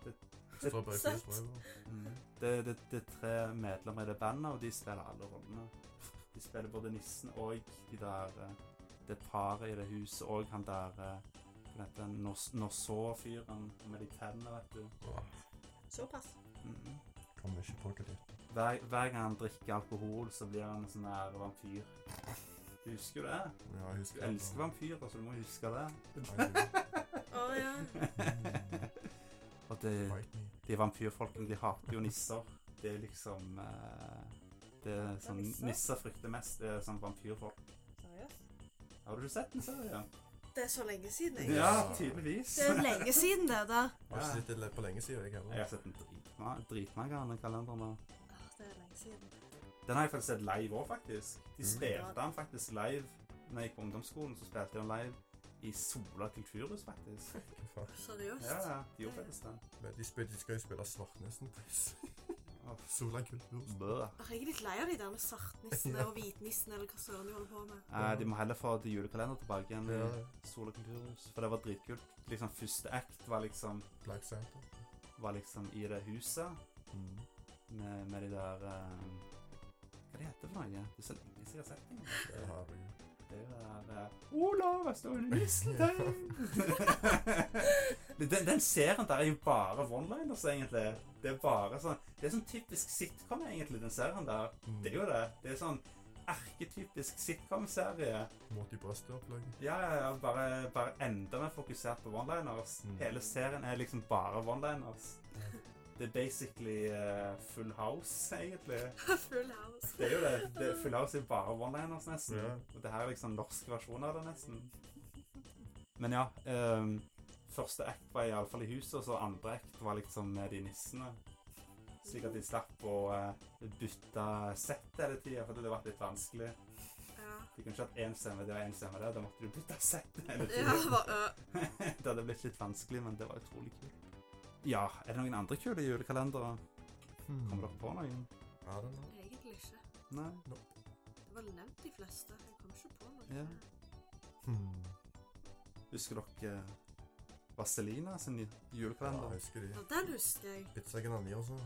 Det, Så da bare Søtt. fyrt over. mm, det, det, det er tre medlemmer i det bandet, og de spiller alle rollene. De spiller både nissen og de der eh, Det paret i det huset og han der eh, Hva heter han Nors- Norså-fyren med de tennene, vet du. Åh, Såpass. Mm. Kommer ikke på hva det er. Hver, hver gang han drikker alkohol, så blir han en sånn her vampyr. Du husker jo det? Ja, jeg Du husker elsker vampyrer, så du må huske det. vampyr. Å ja. Og det, Fight me. de vampyrfolkene, de hater jo nisser. Det er liksom eh, Det er sånn nisser? nisser frykter mest, det er sånn vampyrfolk. Seriøst? Har du ikke sett den serien? Det er så lenge siden, jeg. Ja, tydeligvis. Det er lenge siden, det der. Jeg har ikke sett det på lenge siden, jeg Jeg har heller. sett den dritma- dritmange av den kalenderen. der. Åh, Det er lenge siden. Den har jeg faktisk sett live òg, faktisk. De Mm. spilte den faktisk live når jeg gikk på ungdomsskolen. Så spilte de den live i Sola kulturhus, faktisk. Hva faen? Ja, Seriøst? ja, de gjorde faktisk det. Men de, spil, de skal jo spille Svartnesen-pris. Åh, Sola kultur. Bø. Åh, Jeg er litt lei av de der med svartnissene og hvitnissene eller hva søren de holder på med. Eh, de må heller få til julekalender tilbake igjen i Ja, Sola kulturhus, for det var dritkult. Liksom Første act var liksom, Black Santa. var liksom i det huset Mm. med, med de der eh, Hva det heter for noe? Det er så lenge siden jeg har sett det. Det har vi. Det er eh, Olav, jeg står under misteltein! den, den serien der er jo bare one-liners, egentlig. Det er bare sånn Det er sånn typisk sitcom, egentlig, den serien der. Mm. Det er jo det. Det er sånn arketypisk sitcom-serie. Mot i brøstet-opplegg. Ja, ja, ja. Bare, bare enda mer fokusert på one-liners. Mm. Hele serien er liksom bare one-liners. Det er basically eh, Full House, egentlig. Full house. Det er jo det. det full House er jo bare one-liners, nesten. Ja. Og det her er liksom norsk versjon av det, nesten. Men ja. ehm, første act var iallfall i huset, og så andre act var liksom med de nissene. Slik at de slapp å eh, bytte sett hele tida, fordi det ble litt vanskelig. Ja. Du kunne ikke hatt én stemme der og én stemme der. Da måtte du bytte sett. hele Ja, tiden. bare, øh, det hadde blitt litt vanskelig, men det var utrolig kult. Ja, er det noen andre kule julekalendere? Kommer dere på noen? Ja, den er. egentlig ikke. Nei? Det var nevnt de fleste. Jeg kom ikke på noe. Ja. Hmm. Husker dere eh, Vaselina sin Ja, julekalender? jeg husker de. Ja, den husker jeg. Pizza Gnani også.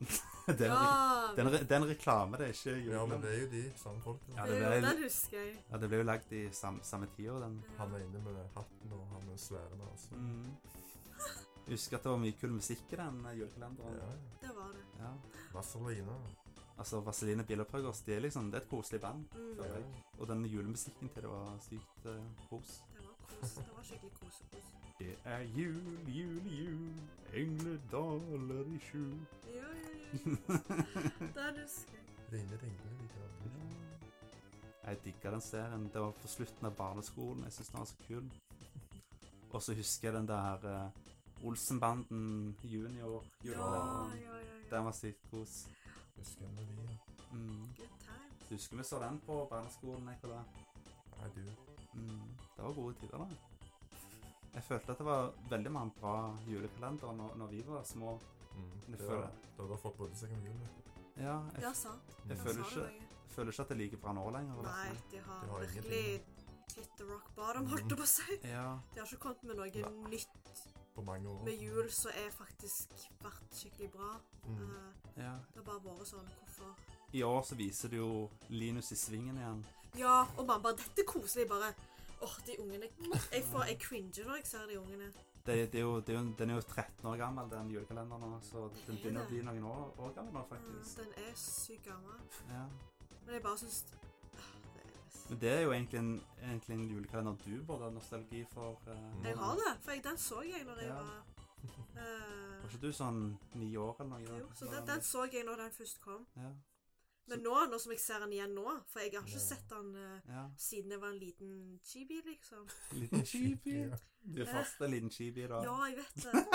Det er en re- Ja, det er en re- det er en reklame, det er ikke Ja, men julekalender. det er jo de samme folka. Ja, ja, det ble- den husker jeg. Ja, det ble jo lagd i sam, samme tida, den. Ja. Han er inne med hatten og han med sværen altså. Mm. Husker at det var mye kul musikk i den eh, julekalenderen. Ja, Ja. ja. Det var det. Vazelina. Altså, Vaseline Bilopphøggers, det er liksom, det er et koselig band. Mm, Ja. det Ja. Og den julemusikken til det var sykt eh, kos. var kos. Det var skikkelig kosekos. Det er jul, jul, jul, engledaler i skjul. Ja, ja, ja. Den husker jeg. Rine Ringle liker jeg. Mm. Jeg digga den serien. Det var på slutten av barneskolen. Jeg syns den var så kul. Og så husker jeg den der eh, Olsenbanden junior. Ja, julekalenderen. ja, ja. ja. Den var sykt kos. Husker jeg når de ja. Mm. Good times. Husker vi så den på barneskolen. Nicola. Nei, du. Mm. Det var gode tider, da. Jeg følte at det var veldig mange bra julekalendere når, når vi var små. Mm. Du Det føler var, da har folk brydde seg om jul. da. Ja, jeg, Ja, sant. Mm. Jeg Den føler sa du ikke- meg. jeg føler ikke at det er like bra nå lenger. Nei, liksom. de har, De har virkelig hit the rock bottom, holdt jeg på å si. Ja. De har ikke kommet med noe nytt På mange år. med jul som er faktisk vært skikkelig bra. Mm. Eh, ja. Det har bare vært sånn Hvorfor? I år så viser det jo Linus i svingen igjen. Ja, og mamma bare Dette er koselig. Bare Åh, de ungene Jeg får Jeg cringer når jeg ser de ungene. det, det er jo, det er jo, den er jo 13 år gammel, den julekalenderen nå, så den begynner å bli noen år, år gammel nå, faktisk. Mm, Den er sykt gammel. Ja. Men jeg bare syns ah, det er- Men det er jo egentlig en, egentlig en julekalender du burde ha nostalgi for. eh, Jeg har det, for jeg, den så jeg når jeg Ja. var eh, Var ikke du sånn ni år eller noe? Jo, så den, den så jeg når den først kom. Ja, Men nå, nå som jeg ser den igjen nå, for jeg har ikke sett den eh, ja. siden jeg var en liten chibi, liksom. Liten chibi. Ja. Du er fast en liten chibi da. Ja, jeg vet det.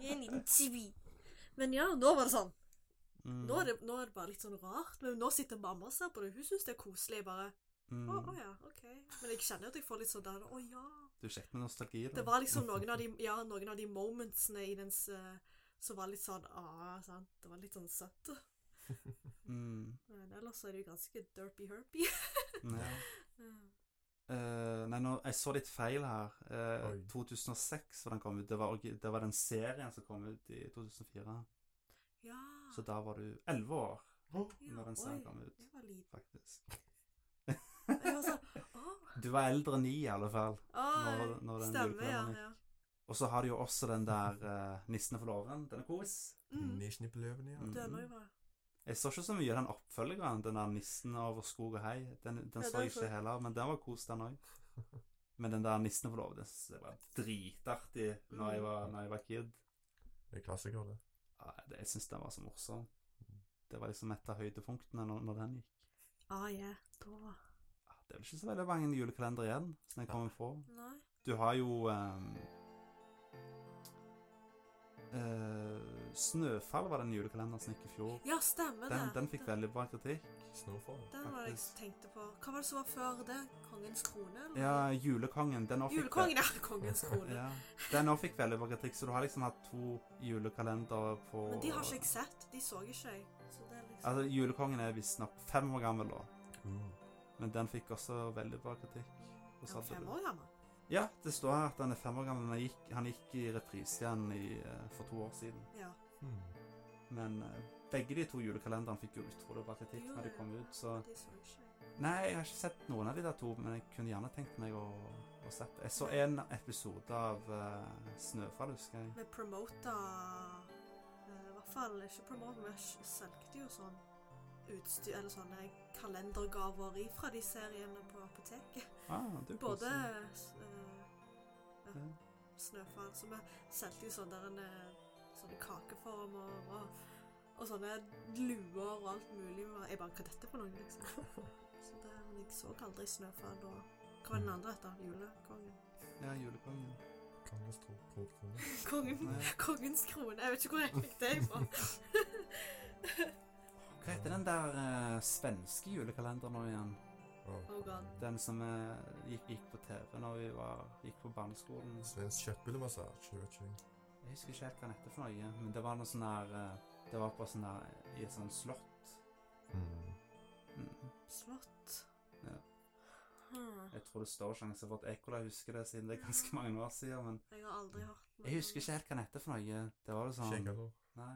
Jeg er en liten chibi. Men ja, nå var det sånn. Mm. Nå er, det, nå er det bare litt sånn rart. Men nå sitter mamma og ser på det. Hun syns det er koselig. Jeg bare Mm. Å, å ja, OK. Men jeg kjenner jo at jeg får litt sånn der Å ja. Du er kjekk med nostalgi da. Det var liksom noen av de, ja, noen av de momentsene i dens eh, som var litt sånn ah, sant? Det var litt sånn søtt. Mm. Men ellers er det jo ganske derpy herpy. Ja. Eh, nei, nå, jeg så litt feil her. Eh, Oi. 2006 var den kom ut. Det var, orgi- det var den serien som kom ut i 2004. Ja. Så da var du 11 år ja, når den oi, serien kom ut. Jeg var liten. faktisk. Jeg var sånn Å, Du var eldre enn ni, i alle fall. å Når- når den stemmer, ja. julekalenderen ja. Og så har du jo også den der uh, 'Nissen for låven'. Den er kos. Mm. Nisjnipeløven, ja. Mm. Det er nå jeg var Jeg så ikke så mye av den oppfølgeren, den der 'Nissen over skog og hei'. Den, den Ja, så jeg den så- ikke heller, men den var kos, den òg. Men den der 'Nissen for låven' den synes jeg var dritartig når Mm. jeg var, når jeg var kid. Det er klassiker, det. Ja, det- Jeg syns den var så morsom. Det var liksom et av høydepunktene når, når den gikk. Ah, ja. Da Ja, Det er vel ikke så veldig mange julekalendere igjen som jeg kommer på. Nei. Du har jo ehm, eh, Snøfall var den julekalenderen som gikk i fjor. Ja, stemmer Den, det. den fikk veldig bra kritikk. Snowfall. Den var det jeg faktisk. tenkte på. Hva var det som var før det? Kongens krone? eller? Ja, Julekongen. Den også fikk Julekongen, ja. Kongens krone. Ja. Den også fikk veldig bra kritikk, så du har liksom hatt to julekalendere på Men de har ikke jeg sett. De så ikke jeg. Så det er liksom Altså, Julekongen er visstnok fem år gammel, da. Mm. Men den fikk også veldig bra kritikk. Og så ja, hadde fem du- år gammel. Ja, det står her at han er fem år gammel, men han gikk, han gikk i reprise igjen i, eh, for to år siden. Ja. Mm. Men eh, begge de to julekalenderne fikk jo utrolig bra kritikk Jo, når de ja. kom ut, så De så ikke jeg. Nei, jeg har ikke sett noen av de der to, men jeg kunne gjerne tenkt meg å, å sett Jeg så en episode av eh, Snøfall, husker jeg. Vi promota eh, I hvert fall ikke promota, men vi solgte jo sånn utstyr eller sånne kalendergaver ifra de seriene på apoteket. Ah, du Både koser. eh, Ja. Snøfall. Så vi solgte jo sånne, der, eh, sånne kakeformer og, og sånne luer og alt mulig. Og jeg bare Hva er dette for noe? liksom? Så det, men jeg så aldri Snøfall da. Hva var den andre etter? Julekongen? Ja, Julekongen. Kongens tro, tro, tro. Kongen, Nei. kongens krone. Jeg vet ikke hvor jeg fikk det fra. Hva heter den der eh, svenske julekalenderen nå igjen? Og Oh god. Hmm. Den som eh, gikk, gikk på TV når vi var, gykk på barneskolen. svensk kjøttbullemassasje. vet ikke jeg. Jeg husker ikke helt hva den heter for noe, men det var noe sånn her eh, Det var på sånn her i et sånt slott. Hmm. Mm. Slott. Ja. Hmm. Jeg tror det står sånn, sjanse for at Ekola husker det, siden det er ganske mange år siden. Men Jeg har aldri hørt jeg husker ikke helt hva den heter for noe. Det var det sånn Skjeggalår. Nei.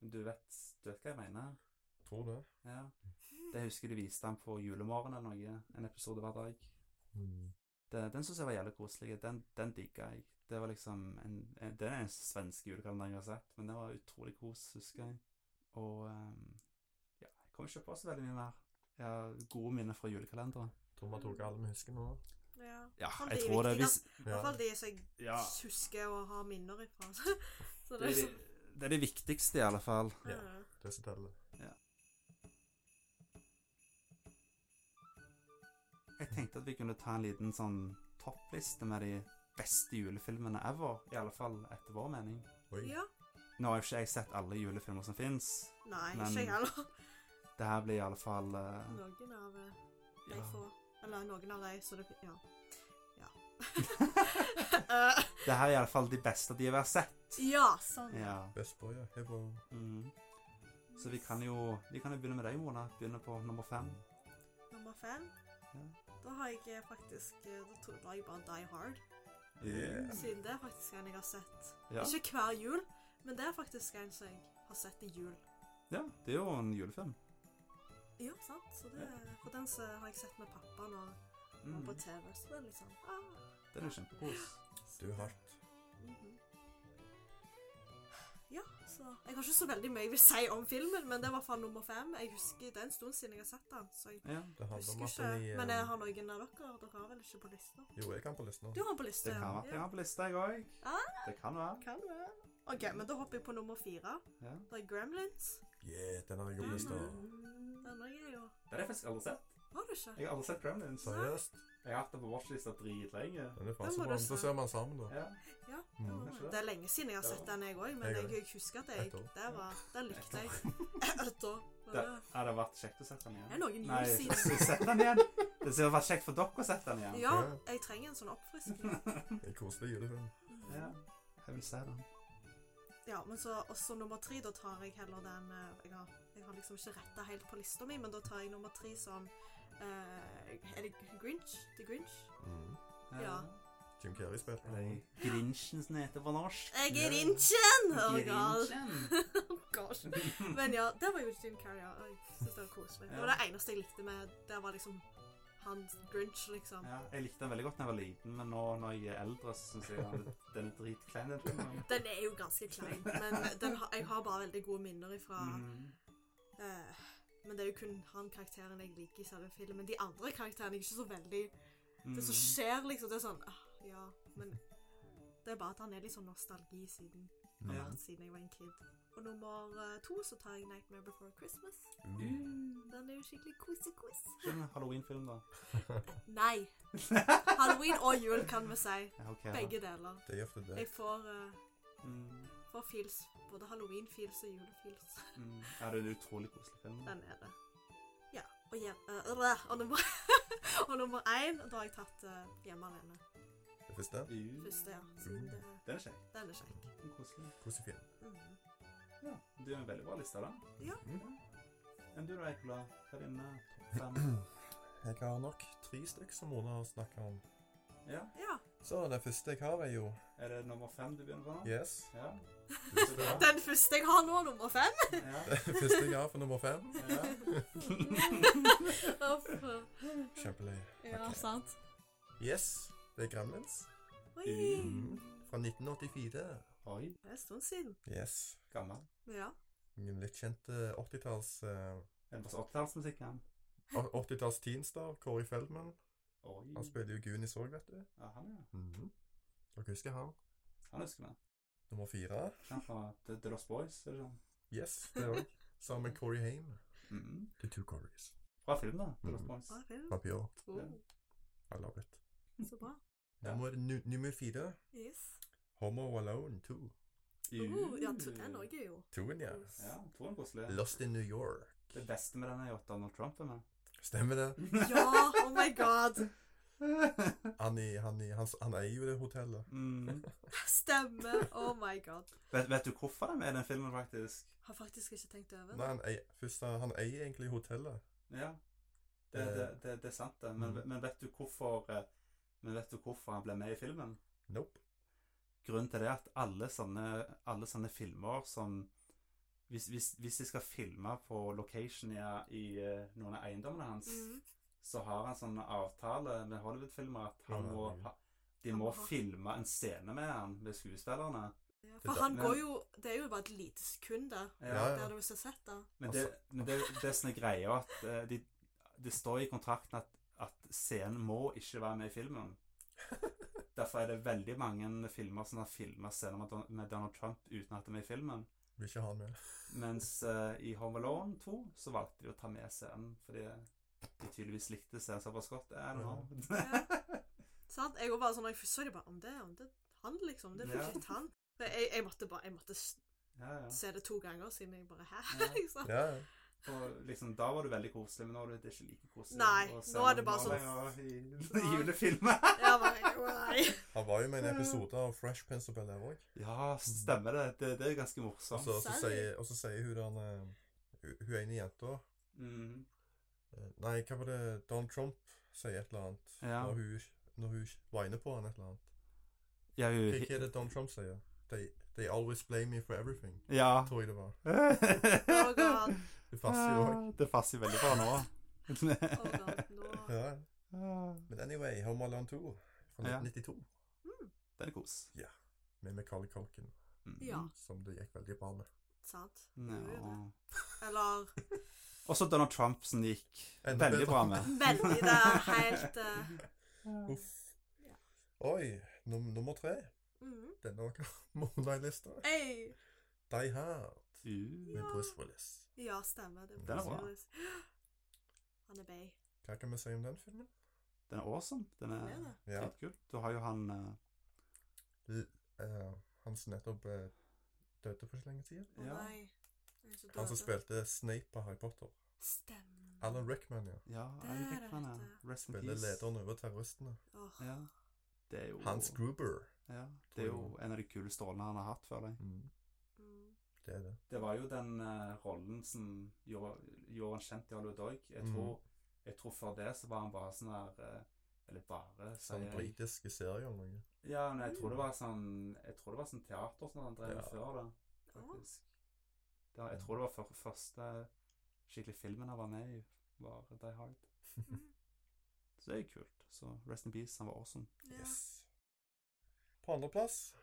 Men Du vet, du vet hva jeg mener? Tror det. Ja. Det husker jeg de viste han på julemorgen eller noe. En episode hver dag. Hmm. Det, den syns jeg var jævlig koselig. Den, den digga jeg. Det var liksom en, en, Det er den eneste svenske julekalenderen jeg har sett, men den var utrolig kos, husker jeg. Og ehm, ja, jeg kommer ikke på så veldig mye mer. Jeg har gode minner fra julekalenderen. Tror man tok alle vi husker nå. Ja. Ja, Kan jeg bli tror det viktig, hvis I hvert fall de som jeg Ja. husker å ha minner ifra. Så Det det er er det, sånn det er det viktigste, i alle fall. Ja. Hmm. Det som teller. Jeg tenkte at vi kunne ta en liten sånn toppliste med de beste julefilmene ever. I alle fall etter vår mening. Oi. Ja. Nå har jo ikke jeg sett alle julefilmer som fins. Nei, Men- ikke jeg heller. Det her blir i alle fall eh, Noen av eh, de ja. få. Eller noen av de, så det Ja. Ja. Eh, Det her er i alle fall de beste de har sett. ja, sånn. Ja. Best boy, ja. Hei, bro. Mhm. Så vi kan jo vi kan jo begynne med deg, Mona. Begynne på nummer fem. Nummer fem. Ja. Da har jeg eh, faktisk eh, Da tror jeg bare Die Hard. Yeah. Siden det er faktisk en jeg har sett. Ja. Ikke hver jul, men det er faktisk en som jeg har sett i jul. ja, det er jo en julefilm. Ja, sant? Så det, for den så har jeg sett med pappa når han var Mhm. på TV. Så det er litt sånn ah, Den er kjempekos. Du er hardt. mhm. Ja, så Jeg har ikke så veldig mye jeg vil si om filmen, men det er i hvert fall nummer fem. Jeg husker det er en stund siden jeg har sett den, så jeg Ja. Det handler om husker at jeg ikke. eh, Men jeg har noen av dere. Dere har vel ikke på lista? Jo, jeg kan på listen nå. Du har på lista? Det kan være at jeg ja. har på lista, jeg òg. Ah. Det kan være. Kan være. OK, men da hopper jeg på nummer fire. Ja. Det er Gremlins. Yeah, den har jeg Mm. på lista. Sånn. Den har jeg jo Den har jeg faktisk aldri sett. Har du ikke? Jeg har aldri sett Gremlins. Seriøst? Jeg har hatt den på watchlista dritlenge. Den er faen Den så må bra. du Så se. ser man sammen, da. Ja. Ja, Mm. jo, Kanskje det. det er lenge siden jeg har Ja. sett den, jeg òg. Men Jeg jeg, også. husker at jeg, Et år. det var, den likte jeg. Et år. Men Det det hadde vært kjekt å sette den er igjen. noen Nei, jul siden. sett den igjen! Det hadde vært kjekt for dere å sette den igjen. Ja, jeg trenger en sånn oppfriskning. En koselig julefilm. Ja. Jeg vil se den. Ja, men så også nummer tre. Da tar jeg heller den eh, Jeg har, jeg har liksom ikke retta helt på lista mi, men da tar jeg nummer tre som eh, Er det Grinch? The Grinch? Mm. Ja. Jim Carrey spilte Eller den. Grinchen, som det heter på norsk. Jeg Ja. er Grinchen! Oh, god. Grinchen. Gosh. Men ja, det var jo Jim Carrey. ja. Jeg synes det var koselig. Det var det eneste jeg likte med Det var liksom han Grinch, liksom. Ja, jeg likte den veldig godt da jeg var liten, men nå når jeg er eldre, så syns jeg han- den er dritklein. den filmen. Den er jo ganske klein, men den har, jeg har bare veldig gode minner ifra Mhm. eh, Men det er jo kun han karakteren jeg liker i selve filmen. De andre karakterene er ikke så veldig Det som Mhm. skjer, liksom, det er sånn ah, Ja, men det er bare at han er litt sånn nostalgi siden, Mm. Ja. siden jeg var en kid. Og nummer eh, to så tar jeg 'Nightmare Before Christmas'. Mm. Den er jo skikkelig kose-kos. Ikke en Halloween-film, da. Nei. Halloween og jul, kan vi si. Ja, ok. da. Begge deler. Det er ofte det. Jeg får, eh, Mhm. får feels. Både halloween-feels og jule-feels. Mhm. Ja, det er en utrolig koselig film. da. Den er det. Ja. Og, hjem, eh, øh, og nummer Og nummer én, da har jeg tatt eh, Hjemme alene. Det første. Mhm. Første, ja. Siden det, Den er kjekk. den er kjekk. Den er Koselig. Koselig film. Mm. Ja, du er en veldig bra liste, da. Ja. Mm. Enn du da, Ekola? Hva er dine topp fem? Jeg har nok tre stykker som Mona har snakket om. Ja, Ja. Så den første jeg har, er jo er det nummer fem du begynner på nå? Yes. Ja. Det bra. Den første jeg har nå, nummer fem. Ja. første jeg har for nummer fem. ja. Kjempeløy. Ja, Ok. sant. Yes, det er Gremlins. Oi. Mm. Fra 1984. Oi, Det er en stund siden. Yes. gammel. Ja. En litt kjent eh, 80-talls eh, Er det bare 80-tallsmusikk? han? 80-talls teenstar, Corey Feldman. Oi. Han spiller jo Goonies òg, vet du. Mhm. Ja, han, ja. Dere husker han? Han husker vi. Nummer fire. Han fra eh, The, The Lost Boys, er det sånn? Yes, det òg. Sammen med Corey Haim. Mhm. The Two Corys. Bra film, da. The Lost Mhm. Boys. Bra film. Papillon. Oh, I love it. så bra. Ja. Nummer, nu, nummer fire. Yes. Homo Alone 2. Mm. Oh, ja, to- den òg er jo Toen, ja. kos. Ja, tror han koselig. Lost in New York. Det beste med den er jo at Donald Trump er med. Stemmer det? Ja, oh my god. Han, i, han, i, han, s- han eier jo det hotellet. Mm. Stemmer. Oh my god. Vet, vet du hvorfor de er i den filmen, faktisk? Har faktisk ikke tenkt over Nei, han eier, først, da, han eier egentlig hotellet. Ja, det, det, det, det er sant, det. Men, Mm. men, vet du hvorfor, eh, men vet du hvorfor han ble med i filmen? Nope. Grunnen til det er at alle sånne, alle sånne filmer som hvis, hvis, hvis de skal filme på location i, i eh, noen av eiendommene hans, Mm. så har han sånn avtale med Hollywood-filmer at han Ja, må, ja. ha- de Han må må ha- filme en scene med han, med skuespillerne. Ja, Det for er han da- går jo Det er jo bare et lite sekund der. Ja, altså- ja. Der du har sett det. Men det, men det, det er sånne greier at eh, de, det står i kontrakten at, at scenen må ikke være med i filmen. Derfor er det veldig mange filmer som har filma scener med Don- med Donald Trump uten at de er med i filmen. Vil ikke ha han med. Mens eh, i Home Alone 2 så valgte de å ta med scenen fordi de tydeligvis likte scenen såpass godt. Jeg nå. Sant? Jeg var bare sånn, når jeg først så det bare om det, om det han liksom, det er Ja. faktisk han. Men Jeg, jeg måtte bare, jeg måtte s- Ja, ja. se det to ganger siden jeg bare, hæ? Ja. Liksom. Ja, ja. Og liksom, da var det veldig koselig, men nå er det ikke like koselig. Nei, å se nå er det bare Home sånn- Alone i- I julefilmer. Jeg bare, nei. Han var jo med i en episode av Fresh Prince of Bel-Air òg. Ja, stemmer det. Det, det er ganske Og morsomt. så så Sally. sier og så sier hun den eh, Hun hun ene jenta Mm. eh, Nei, hva var det Donald Trump sier et eller annet Ja. når hun, når hun viner på han et eller annet. Ja, Hva hun hva er det Donald Trump sier? They, they always blame me for everything. Ja. Tror jeg det var. oh God. Det passer jo òg. Det passer veldig bra nå. Oh god, nå. Ja. Men anyway, Home Alone 2 fra Ja. 1992 Den er kos. med Macaulay Culkin, Mm. Ja, som det gikk veldig bra med. sant. Ja. Eller, Også Donald Trump som det gikk Enda veldig bedre. bra med. veldig det er helt... eh, Uff. Ja. Oi, num nummer tre. mm. Denne var Moonlight-lista. Ei. Die Hard med Uh, Bruce Willis. Ja, stemmer. Det Den er bra. Bruce Willis. Han er bay. Hva kan vi si om den filmen? Den er awesome. Den er Han er det. Ja. dritkul. Du har jo han eh, eh, han som nettopp eh, døde for ikke lenge siden. Å Ja. nei. Jeg er så Han som døde. spilte Snape på Harry Potter. Stemmer. Alan Rickman, ja. Ja, Der Alan er Rickman. ja. det. eh, Rest in Spiller peace. lederen over terroristene. Åh, Ja. Det Oh. er jo Hans Gruber. ja, Det er jo en av de kuleste rollene han har hatt, føler jeg. Mm, mm. det er det. Det var jo den eh, rollen som gjorde, gjorde han kjent i Hollywood òg. Jeg, Mm. tror- jeg tror for det så var han bare sånn der eh, Eller bare, Sånn sier jeg. britiske serier eller noe. Ja, men jeg tror det var sånn Jeg tror det var sånn teater som han drev Ja. med før det, faktisk. Det, var- jeg tror det var for, første skikkelig filmen han var med i, var Die Hard. Så det er jo kult. Så Rest in Peace, han var awesome. Ja. Yes. På andreplass,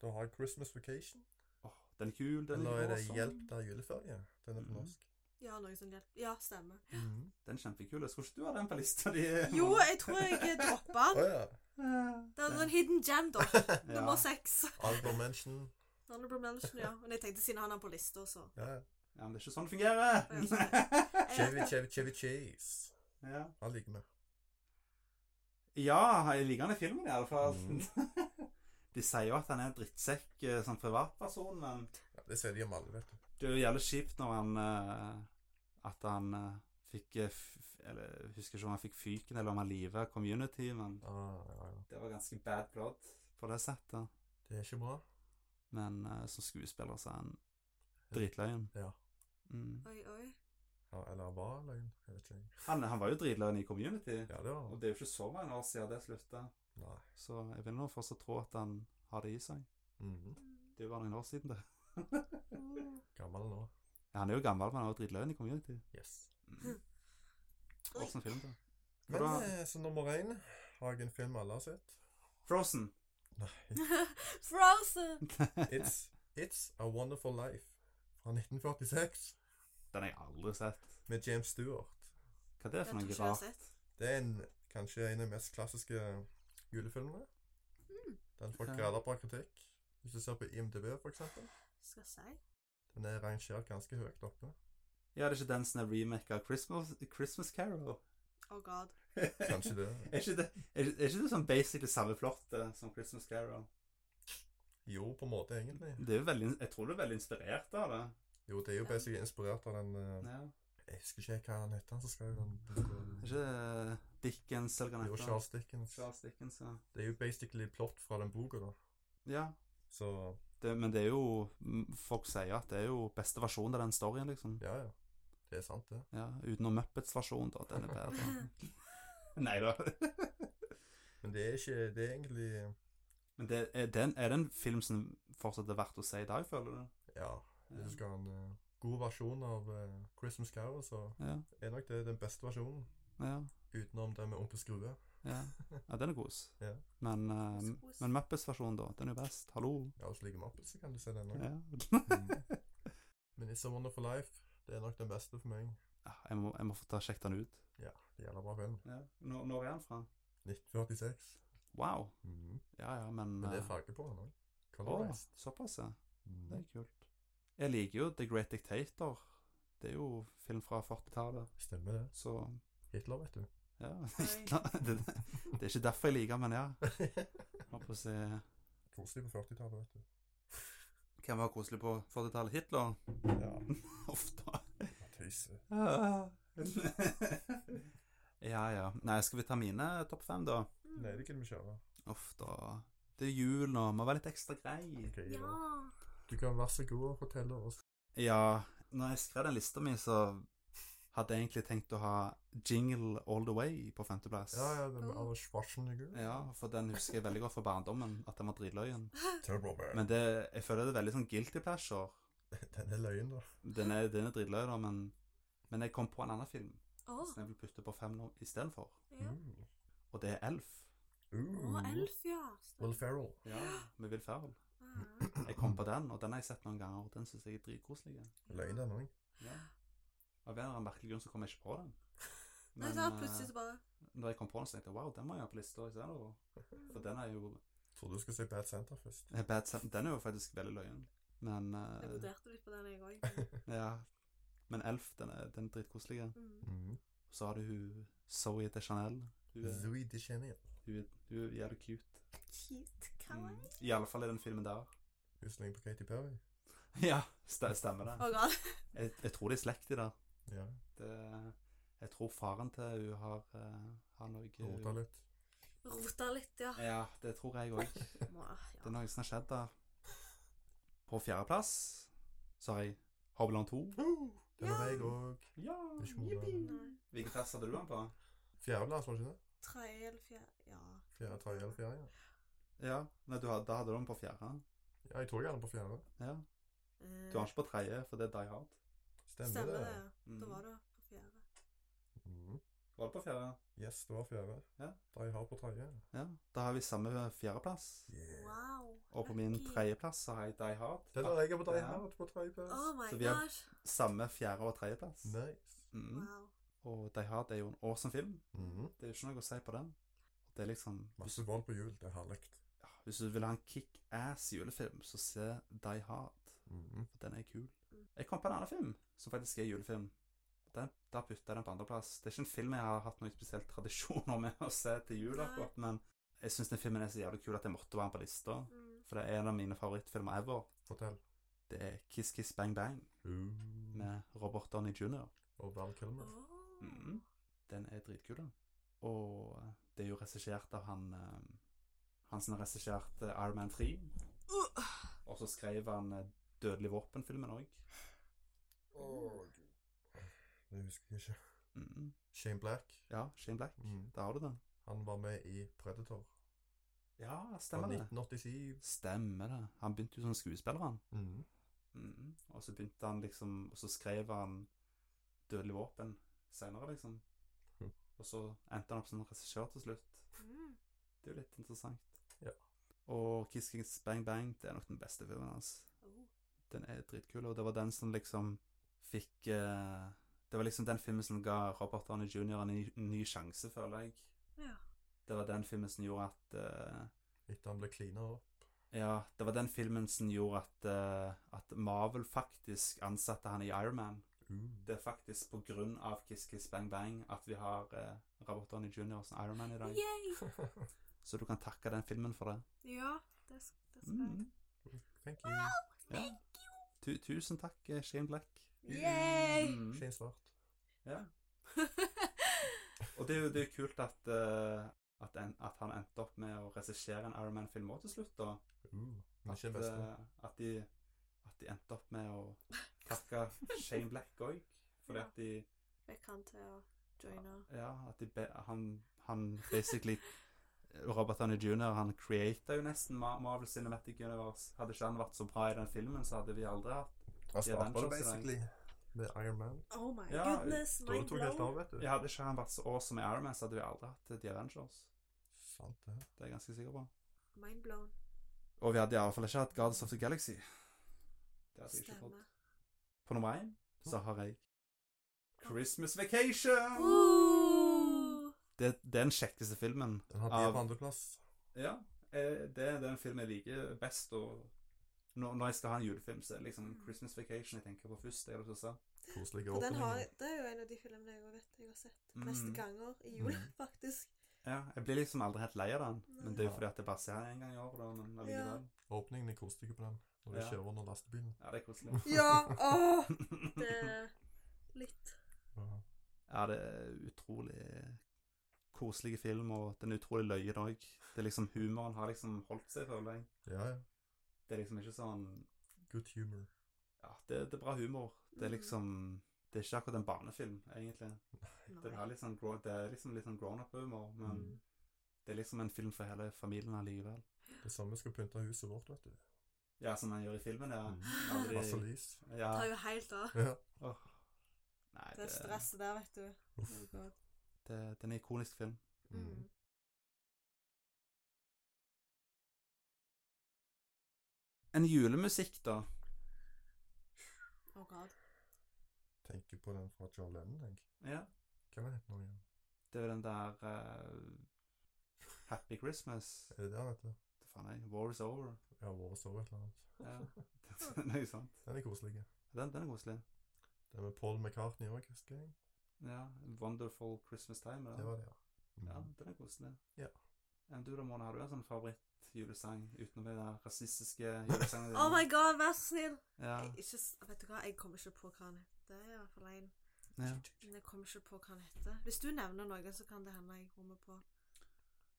da har jeg Christmas Vacation. Åh, den er kul, den Eller er Mm. det awesome. eh, Hjelp det er juleferie? Den er Mhm. på norsk. Ja, noe som hjelper. Ja, stemmer. Mhm. Den er kjempekul. Skulle ikke du ha den på lista di? Jo, jeg tror jeg droppa Å den. ja. Det er en hidden gem, da. Nummer seks. Albert Mention. Honorable mention, ja. Men jeg tenkte siden han er på lista, så Ja. ja. Ja, men det er ikke sånn det fungerer! Jeg- Chevy, Chevy, Chevy Chase. ja. Han liker vi. ja, jeg liker han i filmen i alle fall. Mm. De sier jo at han er en drittsekk eh, som privatperson, men Ja, det sier de om alle, vet du. Det er jo jævlig kjipt når han eh, At han eh, fikk eh, f Eller jeg husker ikke om han fikk fyken, eller om han livet community, men Ah, ja, ja. det var ganske bad blood på det settet. Det er ikke bra. Men eh, som skuespiller så er han dritløyen. Ja. Mm. Oi, oi. Ja, eller var løgn. Jeg vet ikke. Han, han var jo dritløyen i community, Ja, det var og det er jo ikke så mange år siden det slutta, Nei. så jeg vil nå fortsatt tro at han har det i seg. Mhm. Det er jo bare noen år siden, det. Mm. Gammel nå. Ja, han er jo gammel, men han var dritløyen i community. Yes. Mm. Åssen film, da? Men Bra. eh, så nummer én har jeg en film alle har sett. Frozen. Nei. Frozen! It's, it's A Wonderful Life fra 1946 Den har jeg aldri sett. med James Stewart. Hva er det Den for tror ikke noe jeg har rart? sett. Det er en, kanskje en av de mest klassiske eh, julefilmene. Den får Ja. grader bra kritikk. Hvis du ser på IMDb, for eksempel. Skal jeg si. Den er rangert ganske høyt oppe. Ja, det er ikke den som er remake av Christmas, Christmas Carol? Oh god. Kanskje det. er, ikke det, er, er ikke det sånn basically samme flåtte som Christmas Carol? Jo, på en måte, egentlig. Det er jo veldig, jeg tror det er veldig inspirert av det. Jo, det er jo basically inspirert av den eh, Ja. Jeg husker ikke helt hva han heter, han som skrev den boka. Er ikke det Dickens eller hva Det han er jo heter? Charles Dickens. Charles Dickens, ja. Det er jo basically plott fra den boka, da. ja Så det, men det er jo m, Folk sier at det er jo beste versjon av den storyen, liksom. ja, ja. Det er sant, det. Ja, Utenom Muppets versjon, da. Den er bedre. Nei da. Men det er ikke Det er egentlig Men det, er, den, er det en film som fortsatt er verdt å se i dag, føler du? Ja. Hvis du skal ha en eh, god versjon av eh, Christmas Carol, så Ja. er nok det den beste versjonen. Ja. Utenom det med onkel Skrue. Ja, ja den er kos. Ja. Men, eh, Så kos. men Muppets-versjonen, da, den er jo best. Hallo. Ja, hvis du liker Muppet, så kan du se den òg. Ja. Mm. Men It's a Wonderful Life, det er nok den beste for meg. Ja, Ah, Jeg må, jeg må få ta sjekke den ut. Det gjelder bra film. Når, når er den fra? 1946. Wow. Mhm. Ja, ja, men Men det er eh, farge på den òg. å, Colorized. Såpass, ja. Mhm. Det er kult. Jeg liker jo The Great Dictator. Det er jo film fra 40-tallet, Stemmer det. så Hitler, vet du. ja. det, det er ikke derfor jeg liker, men ja. Håper å se Koselig på 40-tallet, vet du. Kan være koselig på 40-tallet. Hitler Ja, ofte. tøyse. Mm. ja, ja. Nei, skal vi ta mine topp fem, da? Nei, Mm. det kan vi kjøre. Uff da. Det er jul nå, må være litt ekstra grei. Ok, Ja. da. Du kan være så god og fortelle oss. Ja, når jeg skrev den lista mi, så hadde jeg egentlig tenkt å ha Jingle All The Way på femteplass. Ja, ja, det med Anders Schwarzenegger. Ja, for den husker jeg veldig godt fra barndommen, at den var dritløyen. Turbo Man. Men det, jeg føler det er veldig sånn guilty pleasure. Den er løgn, da. Den er, den er dritløy, da, men, men jeg kom på en annen film Å, som jeg vil putte på fem nå istedenfor, ja. Mm. Uh. og det er Elf. Å, Mm. Elf, ja. Will Ferrell. Ja, med Will Ferrell. Ja. Jeg kom på den, og den har jeg sett noen ganger, og den syns jeg er dritkoselig. Løgn, den òg. Ja. Av en eller annen merkelig grunn så kom jeg ikke på den. Nei, Men da eh, plutselig så bare når jeg kom på den, så tenkte jeg wow, den må jeg ha på lista. istedenfor. For den er jo Trodde du skulle si Bad Santa først. eh, Bad Sam, Den er jo faktisk veldig løyen. Men Jeg eh, vurderte litt på den, jeg òg. ja. Men Elf, den er, den er dritkoselig. Mm. Mm. Så har du hun Zoe de Chanel. Hun er, Louis de Chenille. hun er, hun er jævlig cute. Cute. Mm. Kawaii. I alle fall i den filmen der. Hun slenger på Katy Perry. ja, st stemmer det. Å, god. Jeg, jeg tror de er slekt i det. Ja, det. Jeg tror faren til hun har, eh, har rota noe litt. Rota litt, ja. Ja, det tror jeg òg. Må, Det er ja. noe som har skjedd der. På fjerdeplass så har jeg Hovland 2. Den var jeg òg. Ja, Nei. Hvilken plass hadde du den på? Fjerdeplass, var det ikke det? Tredje eller fjerde Ja. Fjerde, tredje eller fjerde, ja. Ja, nei, du, had- da hadde du den på fjerde. Ja, jeg tror jeg hadde den på fjerde. Ja. Eh, Du har den ikke på tredje, for det er Die Hard. Stemmer, Stemmer det. det. ja. Mm. Da var det på fjerde. Mhm. Var det på fjerde? Yes, det var fjerde. Ja. Da jeg har på tredje. Ja. Da har vi samme fjerdeplass. Yeah. Wow. Og på min Lucky. tredjeplass så har jeg Die Hard. Den har jeg på tredje Ja. her, på tredje plass. Oh my Eh, Så vi har- gosh. Samme fjerde- og tredjeplass. Nice. Mm. Wow. Og Die Hard er jo en awesome film. Mhm. Det er jo ikke noe å si på den. Det er liksom Masse vold på hjul, det er herlig. ja, Hvis du vil ha en kick-ass julefilm, så se Die Hard. Mhm. For den er kul. Mm. Jeg kom på en annen film, som faktisk er julefilm. Den, da putta jeg den på andreplass. Det er ikke en film jeg har hatt noen spesielle tradisjoner med å se til jul, Nei. akkurat, men jeg syns den filmen er så jævlig kul at jeg måtte være på lista. Mm. For det er en av mine favorittfilmer ever. Fortell. Det er Kiss Kiss Bang Bang Mm. med Robert Downey jr. Og Val Mm. Kilmer. Åh. Mm. Mm. Mhm. Den er dritkul. da. Og det er jo regissert av han eh, Han som har regissert eh, Iron Man 3. Uh, Og så skrev han eh, Dødelig våpen-filmen òg. Åh, Gud. Det husker jeg ikke. Mm. Shane Black. Ja, Shane Black. Mhm. Der har du den. Han var med i Predator Ja, fra stemmer det. 1987. Stemmer det. Han begynte jo som skuespiller, han. Mhm. Mhm. Og så begynte han liksom Og så skrev han 'Dødelig våpen' senere, liksom. Mhm. Og så endte han opp som regissør til slutt. Mm. Det er jo litt interessant. Ja. Og 'Kiss Kiss Bang Bang' det er nok den beste filmen hans. Oh. Den er dritkul, og det var den som liksom fikk eh, Det var liksom den filmen som ga Robert Arne Jr. en ny, ny sjanse, føler jeg. Ja. Det var den filmen som gjorde at eh, Etter han ble cleana opp. Ja, det var den filmen som gjorde at, eh, at Marvel faktisk ansatte han i Iron Man. Uh. Det er faktisk på grunn av Kiss Kiss Bang Bang at vi har eh, Robert Downey Jr. som Iron Man i dag. Yay. Så du kan takke den filmen for det. Ja, det, sk- det skal jeg. Mm. Thank you. Ja. Tu tusen takk, eh, Shane Black. Yay! Mm. Shane Svart. Ja. Og det er jo det er jo kult at, eh, at, en, at han endte opp med å regissere en Iron Man-film òg til slutt. da. Uh, det er At, ikke det beste. eh, at, de, at de endte opp med å takke Shane Black òg. Fordi Ja. at de Fikk han til å joine. Ja, at de be, han, han basically Robert Downey jr. han creata jo nesten Ma- Marvel Cinematic Universe. Hadde ikke han vært så bra i den filmen, så hadde vi aldri hatt de Han starta det Avengers er basically med Iron Man. Oh my Ja, goodness, Da er mind det to helt blown. av, vet du. ja, Hadde ikke han vært så awesome i Iron Man, så hadde vi aldri hatt eh, The Avengers. Sant det. Det er jeg ganske sikker på. Mind blown. Og vi hadde iallfall ikke hatt Guardians of the Galaxy. Det hadde jeg ikke fått. Stemmer. På nummer én så har jeg Christmas Vacation! Uh! Det, det er den kjekkeste filmen. Den hadde jeg Av- på andreplass. Ja, eh, det er den filmen jeg liker best. Og når, når jeg skal ha en julefilm, så er det liksom Christmas Vacation jeg tenker på først. Det er det du sa. Koselige Og den har, åpninger. det er jo en av de filmene jeg også vet jeg har sett mest Mm. ganger i jul, Mm. faktisk. Ja, jeg blir liksom aldri helt lei av den. Men det er jo Nei. fordi at jeg bare ser den en gang i året. da, Men allikevel. Åpningen er koselig på den når du Ja. kjører under lastebilen. Ja, det er koselig. Ja! Åh! Det er litt Ja. Ja, det er utrolig koselig film, og den er utrolig løyen òg. Det er liksom humoren har liksom holdt seg, føler jeg. ja, ja. Det er liksom ikke sånn Good humor. Ja, det, det er bra humor. Det er liksom Det er ikke akkurat en barnefilm, egentlig. Det er Nei. litt sånn, grow- det er liksom litt sånn grown up-humor, men Mm. det er liksom en film for hele familien allikevel. Det samme skal pynte huset vårt, vet du. Ja, som man gjør i filmen, ja. Mm. Alle de- Masse lys. ja. tar jo helt av. Ja. Åh. Nei, Det er det, stresset der, vet du. Uff. Oh God. det, det er en ikonisk film. Mm. Mm. En julemusikk, da. Oh God. Tenker på den fra John Lennon, jeg. Ja, Hva var den het nå igjen? det er jo den der eh, Happy Christmas. Er det der, vet du? Det faen jeg, War is over. Ja, våre sover et eller annet. Ja, den er jo sant. Den er koselig. Den, den er koselig. Den med Paul McCartney òg, husker jeg. Ja, Wonderful Christmas Time. Det Ja. var det, ja. Mm. ja, den er koselig. Ja. Enn du da, Mona, har du en sånn favorittjulesang utenom den der rasistiske julesangen din? Oh my God, vær så snill! Ja, Jeg, ikke, s- vet du hva, jeg kommer ikke på hva han heter. Det er i hvert fall en. ja. Men jeg kommer ikke på hva han heter. Hvis du nevner noen, så kan det hende jeg kommer på.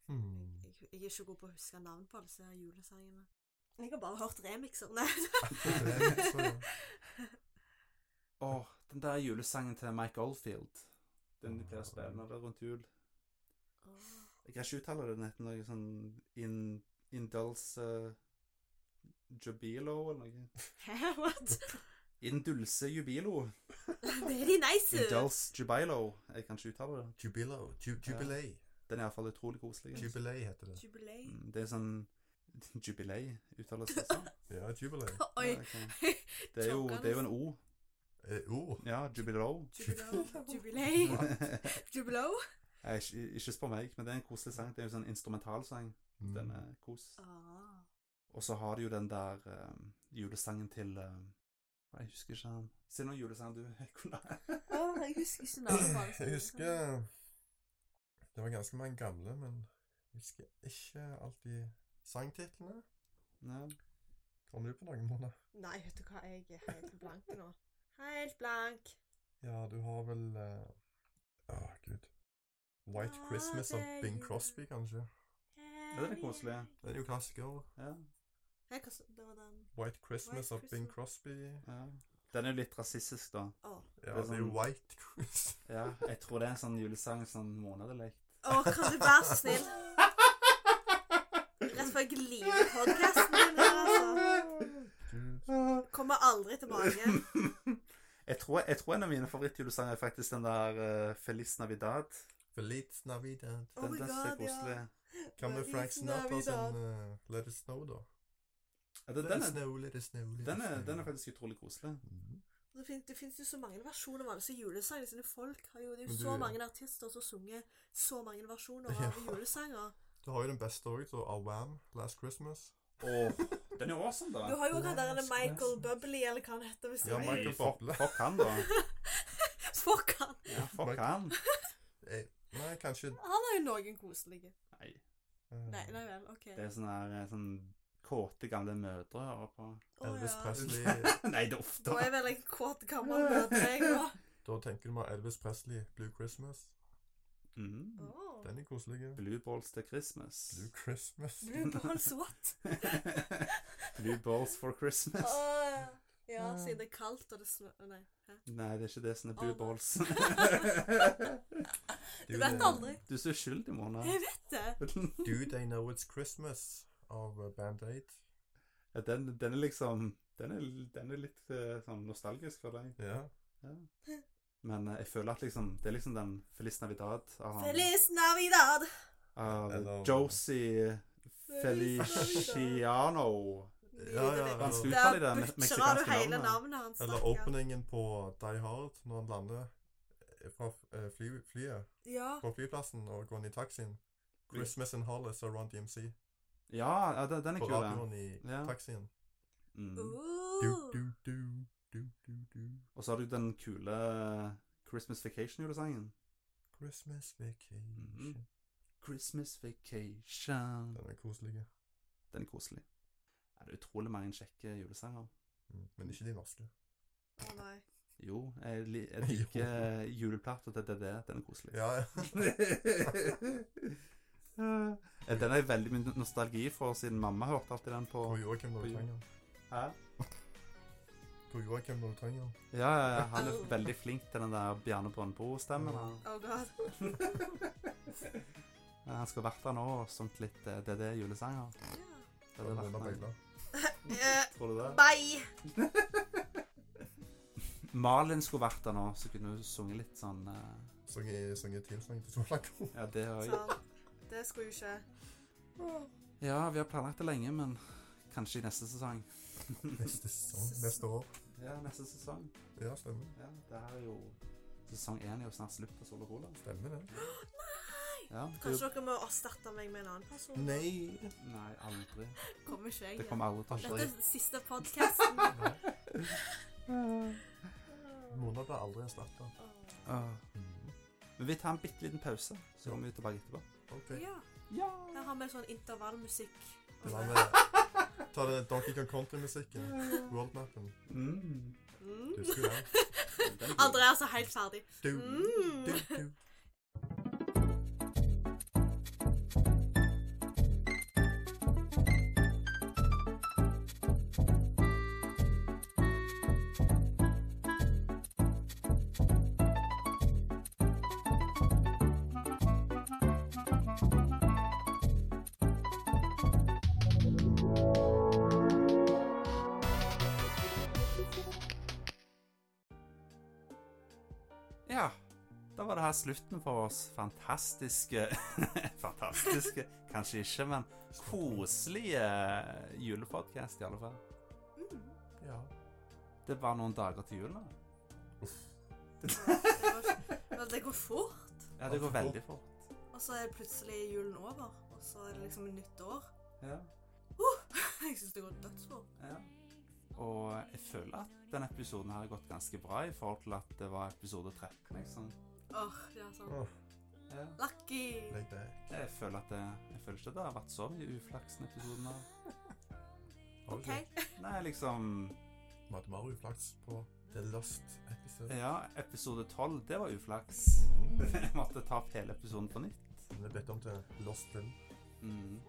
Mm. Jeg, jeg er ikke god på å huske navn på alle disse her julesangene. Jeg har bare hørt remixer. Nei. Det er litt sånn- så, ja. Åh, den der julesangen til Mike Oldfield. Den de pleier å spille når det er rundt jul. Åh. Jeg kan ikke uttale det, den heter noe sånn in, Indulse eh, Jubilo eller noe. Hæ, what? Indulse Jubilo. Det er de nice! Indulse Jubilo. Jeg kan ikke uttale det. Jubilo. Ju jubilei. Den er iallfall utrolig koselig. Jubilei heter det. Jubilei. Mm, Det er sånn Jubilei uttales det sånn. Ja, jubilei. Oi. Ja, ok. Det er, jo, det er jo en O. Eh, oh, Mm. Ja, Jubilo. Jubilau. Jubilei. Jubilau. Jeg, ikke, ikke spør meg, men det er en koselig sang. Det er jo sånn instrumentalsang. mm. Den er kos. Ah. Og så har du jo den der ehm, julesangen til ehm, Nei, Jeg husker ikke den. Si noen julesang du kunne Åh, jeg husker ikke navnet på alle Jeg husker eh, Det var ganske mange gamle, men jeg husker ikke alltid sangtitlene. ja. Kommer du på noen måneder? Nei, vet du hva, jeg er helt blank nå. Helt blank. Ja, du har vel eh, Åh, gud. White Ah, Christmas det av er Bing jul. Crosby, kanskje. Ja, den er koselig. Den er jo klassiker. Ja, Jeg kan s- Det var den. White Christmas White av Bing Christmas. Crosby. ja. Den er jo litt rasistisk, da. Åh, Ja, Det er det er jo sånn- White Christmas. Ja, Jeg tror det er en sånn julesang som Mona hadde lekt. Åh, kan du være så snill? Rett før jeg limer podcasten din her, altså. Gud. Kommer aldri tilbake. Jeg tror, jeg tror en av mine favorittjulesanger er faktisk den der eh, Feliz Navidad. Feliz Navidad. Oh Den, my den synes jeg er God, ja. koselig. Hva med Feliz Frank Sinatra Navidad. sin eh, Let It Snow, da? Ja, den, Let den, it er, snow, let it snow, let it den, er, snow. den er faktisk utrolig koselig. Mhm. Det, fin det finnes jo så mange versjoner av alle disse julesangene sine folk har jo. Det er jo Men så du- mange artister som sunger så mange versjoner av Ja. julesanger. Du har jo den beste òg, så av Wham! Last Christmas. Og den er jo awesome, Du da. har jo han der Last Michael Christmas. Bubbly, eller hva han heter. Hvis Ja, jeg- Michael fuck, Bublé. fuck han, da. Fuck han! Ja, fuck han. Eh, nei, kanskje Han har jo noen koselige. Nei. eh, Nei, nei vel, ok. Det er sånn her eh, sånn kåte gamle mødre hører på. Å, Elvis ja. Presley Nei, det er ofte Da er vel en kåt gammel møte, jeg nå. Da tenker du meg Elvis Presley, 'Blue Christmas'. Mm. Oh. Den er koselig. ja. Blue balls til Christmas. Blue Christmas. Blue balls what? Blue balls for Christmas. Åh, Ja, siden det er kaldt og det snør Nei. hæ? Nei, det er ikke det som er blue Å, nei. balls. Do Du vet they- aldri. Du er så uskyldig, Mona. Jeg vet det! Do They Know It's Christmas av eh, Band Aid. Ja, den, den er liksom Den er, den er litt eh, sånn nostalgisk for deg. Ja. Men eh, jeg føler at liksom Det er liksom den Feliz Navidad av, han- Feliz Navidad! av Eller- Ah, Josie Feliciano. Ja, Hva ja, eller- Da skal uttale det butcherer du meksikanske hele navnet? navnet hans. Eller stakkar. openingen på Die Hard når han lander eh, fra eh, fly, flyet, Ja. fra flyplassen og går inn i taxien. Blir- 'Christmas in Hollis' av Run DMC. Ja, ja, den, den er På kul, den. radioen i Ja. taxien. Mm. Du, Uh. du, du, du, du, du. Og så har du den kule Christmas Vacation-julesangen. Christmas vacation. Mhm. Christmas Vacation. Den er koselig. Den er koselig. Ja, det er utrolig mange kjekke julesanger. Mm. Men ikke de norske. Å, nei. Jo, jeg, li jeg Jo. liker juleplata til DDD. Den er koselig. Ja, ja. Eh, den har jeg veldig mye nostalgi for, siden mamma hørte alltid den på Hvor Joakim når du Oi. trenger den. Hæ? Hvor Joakim når du trenger den. Ja, ja, ja, han er veldig flink til den der Bjarne Brøndbo-stemmen. Han. Oh god. Eh, han skal vært der nå og sunget litt eh, DDD-julesanger. Ja. Det hadde vært Mona nice. Eh, Beila. Tror du det? bye! Malin skulle vært der nå, så kunne hun sunget litt sånn eh, Sang i, sang i teamsang til Solakon. Ja, det har jeg. Sånn. Det skulle jo ikke Åh, Ja, vi har planlagt det lenge, men kanskje i neste sesong. Neste sesong. Neste år. Ja, neste sesong. Ja, stemmer. Ja, det her er jo Sesong én er jo snart slutt på Sol og Cola. Stemmer det. Ja, det er jo- Kanskje dere må erstatte meg med en annen person? Nei. Nei, aldri. Kommer ikke jeg. Det kommer aldri til å Dette skje. er siste podkasten. Mona ble aldri erstatta. Åh. Mhm. Men vi tar en bitte liten pause, så kommer vi tilbake etterpå. OK. Ja. Ja. Her har vi sånn intervallmusikk. Det var med Ta det Donkey Kong Country-musikken. Worldmappen. Mm. Mm. Du skulle Den den. er god. Andreas er helt ferdig. Du, Mm. du, du. Ja. Da var det her slutten for oss fantastiske Fantastiske, kanskje ikke, men Mm. koselige julepodkast, i alle fall. Ja. Det var noen dager til jul nå. Men det går fort. Ja, det går veldig fort. Og så er plutselig julen over. Og så er det liksom nytt år. Ja. Jeg syns det går dødsfort. Ja. Og jeg føler at denne episoden her har gått ganske bra i forhold til at det var episode 13, liksom. Åh, ja, sånn. Åh, Ja. Lucky. Legg deg. Jeg føler at det, jeg føler ikke at det har vært så mye uflaks denne episoden her. Har du OK. ikke? Nei, liksom Vi hadde mer uflaks på The Lost Episode. Ja, episode 12, det var uflaks. Mm. Jeg måtte ta opp hele episoden på nytt. Vi er bedt om til Lost Film. Mm.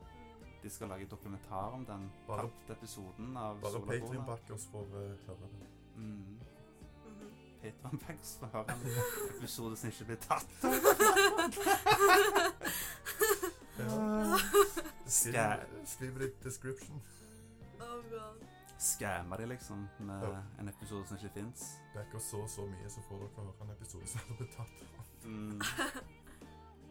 De skal lage dokumentar om den Bare- tapte episoden av Bare Sola Cola. Patrion-backers får eh, høre det. Mm. Mhm. Patreon Backers får høre en episode som ikke blir tatt. Skriv, skriv litt description. Oh god. Skammer de liksom med Ja. en episode som ikke fins. Backer så og så mye, så får dere høre en episode som er betatt. Mm.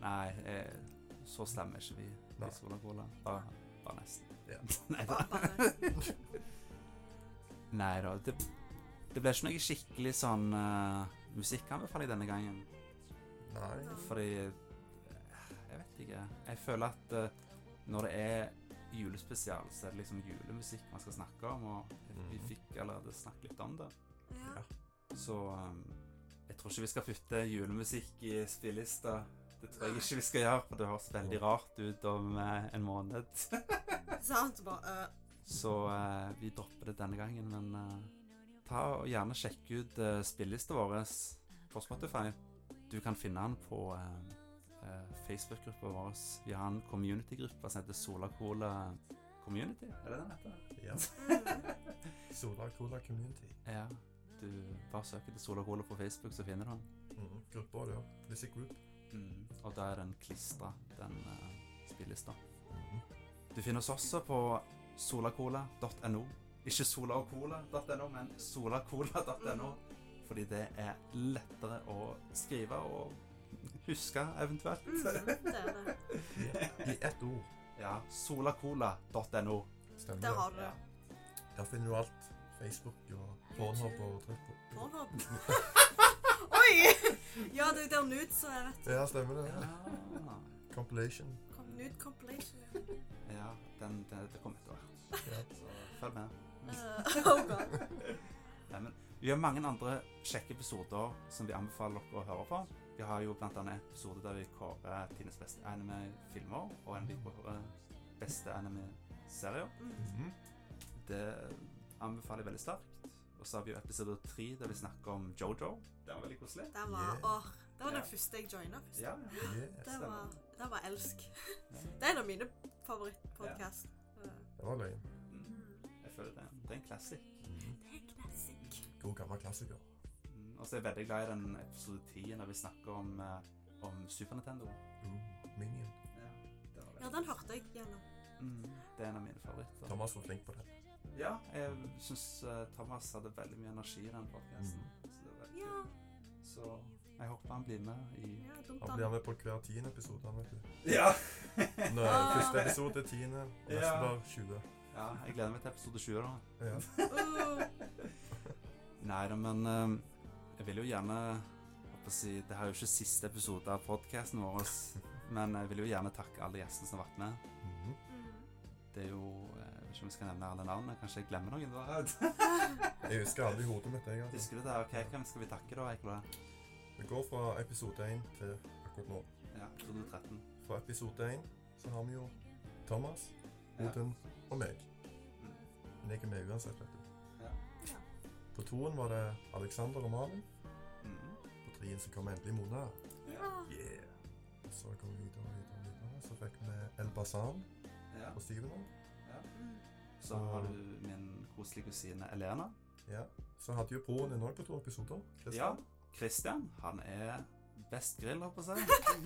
Nei, eh, så stemmer ikke vi. Nei. Vi Sola Cola. Bare, bare nesten. Ja. Nei da. Bare, bare. Det, det ble ikke noe skikkelig sånn uh, musikkanbefaling denne gangen. Nei. Fordi eh, Jeg vet ikke. Jeg føler at eh, når det er julespesial, så er det liksom julemusikk man skal snakke om, og vi Mhm. fikk allerede snakket litt om det. Ja. Så um, jeg tror ikke vi skal putte julemusikk i spillelista. Det tror jeg ikke vi skal gjøre, for det høres veldig rart ut om eh, en måned. Sant? Bare eh, Så eh, vi dropper det denne gangen, men eh, ta og gjerne sjekk ut uh, spillelista eh, vår på Spotify. Du kan finne han på eh, eh, Facebook-gruppa vår. Vi har en community-gruppe som heter Solacola Community. Er det den heter? Ja. mm, Sola Cola Community. Ja. Du bare søker til Solacola på Facebook, så finner du han. Mm. Gruppa, ja. Disse group. Og da er den klistra, den uh, spillelista. Mm-hmm. Du finner oss også på solacola.no. Ikke solaocola.no, men solacola.no. Fordi det er lettere å skrive og huske, eventuelt. mm, Mm. Det er det. I, I ett ord. Ja, solacola.no. Stemmer Der det. har du det. Der finner du alt. Facebook og Pornhub og Trippo. Pornhub. Oi! Ja, det er der nudes er, vet Ja, stemmer det. Ja, Ja. Compilation. du. Kom- Nude compilation. ja. ja den, det, det kommer etter hvert. Ja. Så følg med. Eh, oh god. Nei, men vi har mange andre kjekke episoder som vi anbefaler dere å høre på. Vi har jo blant annet en episode der vi kårer Tines beste anime-filmer, og en vi kårer beste anime-serier. Mm. Mhm. Det anbefaler jeg veldig sterkt. Og så har vi jo episode tre der vi snakker om Jojo. Det var veldig koselig. Der var, Yeah. åh, det var Ja. den første jeg joina. først. Ja, Yeah. Det var, det var elsk. Ja. Det er en av mine favorittpodkast. Eh, Det var løgn. Mm, jeg føler det, er en- det er en classic. Mhm. Det er classic. God gammel klassiker. Mm, og så er jeg veldig glad i den episode 10 der vi snakker om, eh, om Super Nintendo. Mm. Minion. Ja, det var Ja, veldig. den hørte jeg gjennom. Mm, det er en av mine favoritter. Thomas var flink på det. Ja, jeg syns eh, Thomas hadde veldig mye energi i den podkasten. Ja, Så jeg håper han blir med i ja dumt Han han. blir med på hver tiende episode. han, vet du. Ja! Nå er det Ah. første episode tiende, Ja. neste var 20. ja jeg gleder meg til episode 20, da. Ja. Uh, Nei da, men eh, jeg vil jo gjerne håper å si, Det her er jo ikke siste episode av podkasten vår, men jeg vil jo gjerne takke alle gjestene som har vært med. Mhm. mm. Det er jo eh, Jeg vet ikke om jeg skal nevne alle navnene. Kanskje jeg glemmer noen? da. Jeg husker alle i hodet mitt. Jeg, altså. Husker du det? Ok, Hvem skal vi takke, da? Ekla? Vi går fra episode 1 til akkurat nå. Ja, episode 13. Fra episode 1 så har vi jo Thomas, Ja. Mm. Odin og meg. Men jeg er med uansett, vet du. Ja. Ja. På toen var det Alexander og Malin. Mm. På treen så kom endelig Mona. ja. Yeah! Og så kom vi videre og videre. og videre. Så fikk vi El Bazan ja. på syvende. Mm. Så har du min koselige kusine Elena. Ja. Så hadde jo broren din òg på to episoder. Ja. Christian. Christian, han er best grill, holdt jeg på å si.